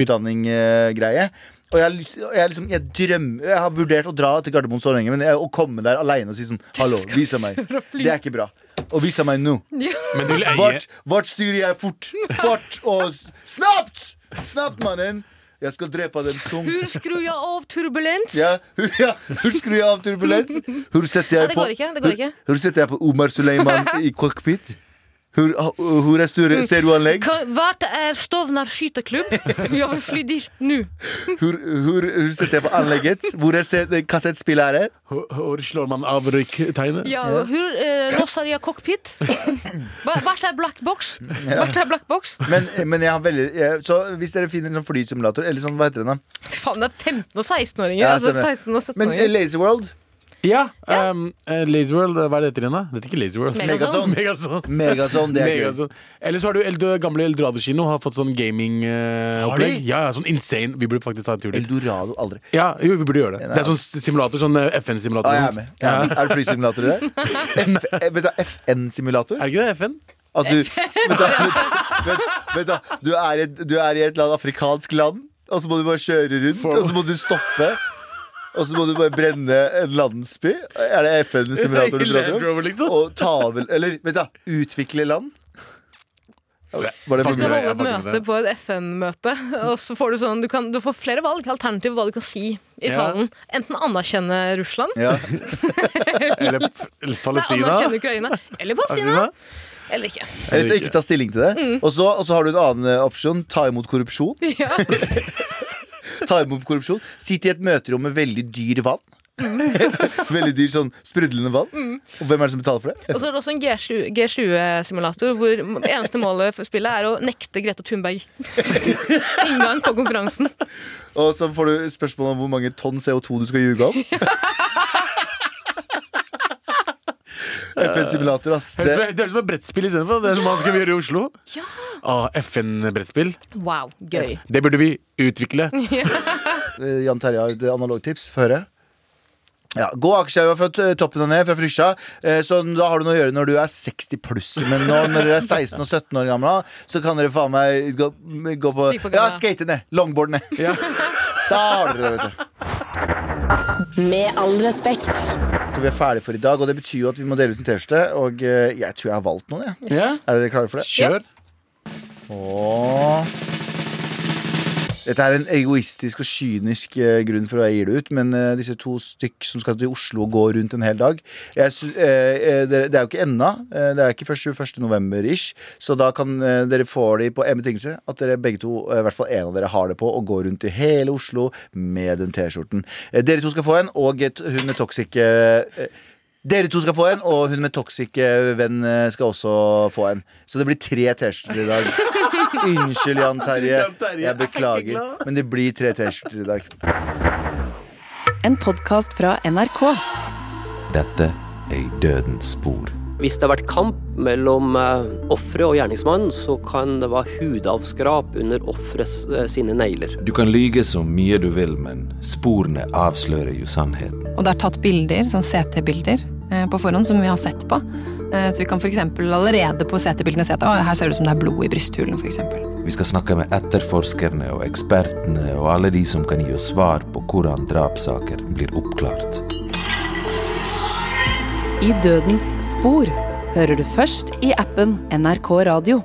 S2: flyverutdanning-greie og jeg, har lyst- og jeg, liksom, jeg drømmer Jeg har vurdert å dra til Gardermoen så lenge Men jeg, å komme der alene og si sånn Hallo, visa meg Det er ikke bra Og visa meg nå
S3: Men du vil eie
S2: Vart, vart styrer jeg fort? Fart og s- snapt! Snapt, mannen! Jeg skal drepe den tung.
S4: Hvor skrur jeg av turbulens?
S2: Ja, hu- ja. Hvor skrur jeg av turbulens? Hvor setter
S4: Nei,
S2: jeg
S4: det
S2: på
S4: går ikke. det går ikke
S2: Hvor setter jeg på Omar Suleiman i cockpit? Hvor, hvor er styre-
S4: Mm.
S2: stereoanlegg?
S4: Ka- Hvert er Stovner skyteklubb? Jeg vil fly dit nå.
S2: Hvor, hvor, hvor setter jeg på anlegget? Hvor er se- kassettspillere?
S3: Hvor- Hvor slår man av røyktegnet?
S4: Ja, hvor eh, låser jeg cockpit? Hva- Hvert er black box? Hvert er black box?
S2: Men, men jeg har veldig jeg, Så hvis dere finner en sånn flysimulator, eller sånn, hva heter den da?
S4: Faen, det er 15- og 16-åringer.
S2: Ja,
S4: altså
S2: stemmer.
S4: 16- og
S2: Men eh,
S4: 17-åringer.
S2: Lazy World?
S3: Ja. Um, eh, Lazy World, eh, hva er det heter igjen, da? Det heter ikke Lazy World.
S2: Megazone.
S3: Megazone.
S2: Megazone, det er gøy.
S3: Megazone. Eller så har du Eldo, gamle Eldorado kino har fått sånn
S2: Har de?
S3: gaming-opplegg. ja, ja, sånn insane. Vi burde faktisk ta en tur dit.
S2: Eldorado, aldri.
S3: Ja, jo, vi burde gjøre det. Det er sånn simulator, sånn eh, FN-simulator.
S2: Ja, jeg er med. Jeg er, med. er det flysimulator i det? F- eh, Vet du, FN-simulator?
S3: Er det ikke det FN?
S2: At du Vent, da. Vent, vent, vent da. Du, er i et, du er i et land, afrikansk land, og så må du bare kjøre rundt,
S3: For-
S2: og så må du stoppe. Og så må du bare brenne en landsby. Er det FN-simulator du
S3: Land
S2: prater om?
S3: Rover, liksom.
S2: Og ta over Eller vent, da. Utvikle land. Var det
S4: Du skal
S2: for mye?
S4: holde et
S3: Jeg fucker med
S4: møte
S3: det.
S4: på et FN-møte, og så får du sånn Du, kan, du får flere valg, alternativ hva du kan si i
S3: Ja.
S4: talen. Enten anerkjenne Russland,
S2: Ja.
S3: Eller P- eller
S4: Nei,
S3: Palestina.
S4: anerkjenne Ukraina, eller Palestina, eller ikke.
S2: Eller ikke ta stilling til det. Og så, og så har du en annen eh, opsjon. Ta imot korrupsjon.
S4: Ja.
S2: Ta imot korrupsjon Sitt i et møterom med veldig dyr vann. Veldig dyr sånn sprudlende vann. Og hvem er det som betaler for det?
S4: Og så er det også en G20 G20-simulator hvor eneste målet for spillet er å nekte Grete Thunberg inngang på konferansen.
S2: Og så får du spørsmål om hvor mange tonn CO2 du skal ljuge om. FN-simulator, ass.
S3: Høres
S2: Det,
S3: med- Det høres ut som et brettspill istedenfor. Det er som man skal gjøre i Oslo. Ah, FN-brettspill.
S4: Wow, gøy.
S3: Det burde vi utvikle.
S2: eh, Jan Terje har et analogtips. Få høre. Ja, Gå aksjeelva fra t- eh, toppen og ned, fra Frysja. Eh, Så da har du noe å gjøre når du er 60 pluss. Men nå når dere er 16 og 17 år gamle, så kan dere faen meg gå, gå på
S4: Stig på
S2: Ja,
S4: gata.
S2: skate ned. Longboard ned.
S3: Ja.
S2: Da har dere det, vet du.
S5: Med all respekt.
S2: Så vi er ferdige for i dag, og det betyr jo at vi må dele ut en T-skjorte. Og eh, jeg tror jeg har valgt noen, jeg.
S3: ja.
S2: Er dere klare for det?
S3: Kjør.
S2: Åh. Dette er en egoistisk og kynisk eh, grunn for å jeg gir det ut, men eh, disse to stykk som skal til Oslo og gå rundt en hel dag jeg sy eh, eh, det, det er jo ikke ennå. eh, det er ikke 1. november-ish, så da kan eh, dere få de på en betingelse at dere begge to, eh, i hvert fall en av dere, har det på og går rundt i hele Oslo med den T-skjorten. Eh, dere to skal få en, og et, hun med toxic eh, dere to skal få en, og hun med toxic eh, venn eh, skal også få en. Så det blir tre T-skjorter i dag. Unnskyld, Jan Terje.
S3: Jan Terje, jeg er
S2: Jeg
S3: ikke
S2: beklager.
S3: glad.
S2: Men det blir tre T-skjorter i dag.
S1: En podkast fra NRK.
S7: Dette er i dødens spor.
S8: Hvis det har vært kamp mellom eh, offeret og gjerningsmannen, så kan det være hudavskrap under offerets eh, sine negler.
S7: Du kan lyge så mye du vil, men sporene avslører jo sannheten.
S9: Og det er tatt bilder, sånn CT-bilder, eh, på forhånd som vi har sett på. Eh, Så vi kan f.eks. allerede på CT-bildene se at «Å, her ser det ut som det er blod i brysthulen, f.eks.
S7: Vi skal snakke med etterforskerne og ekspertene og alle de som kan gi oss svar på hvordan drapssaker blir oppklart.
S1: I dødens spor hører du først i appen NRK Radio.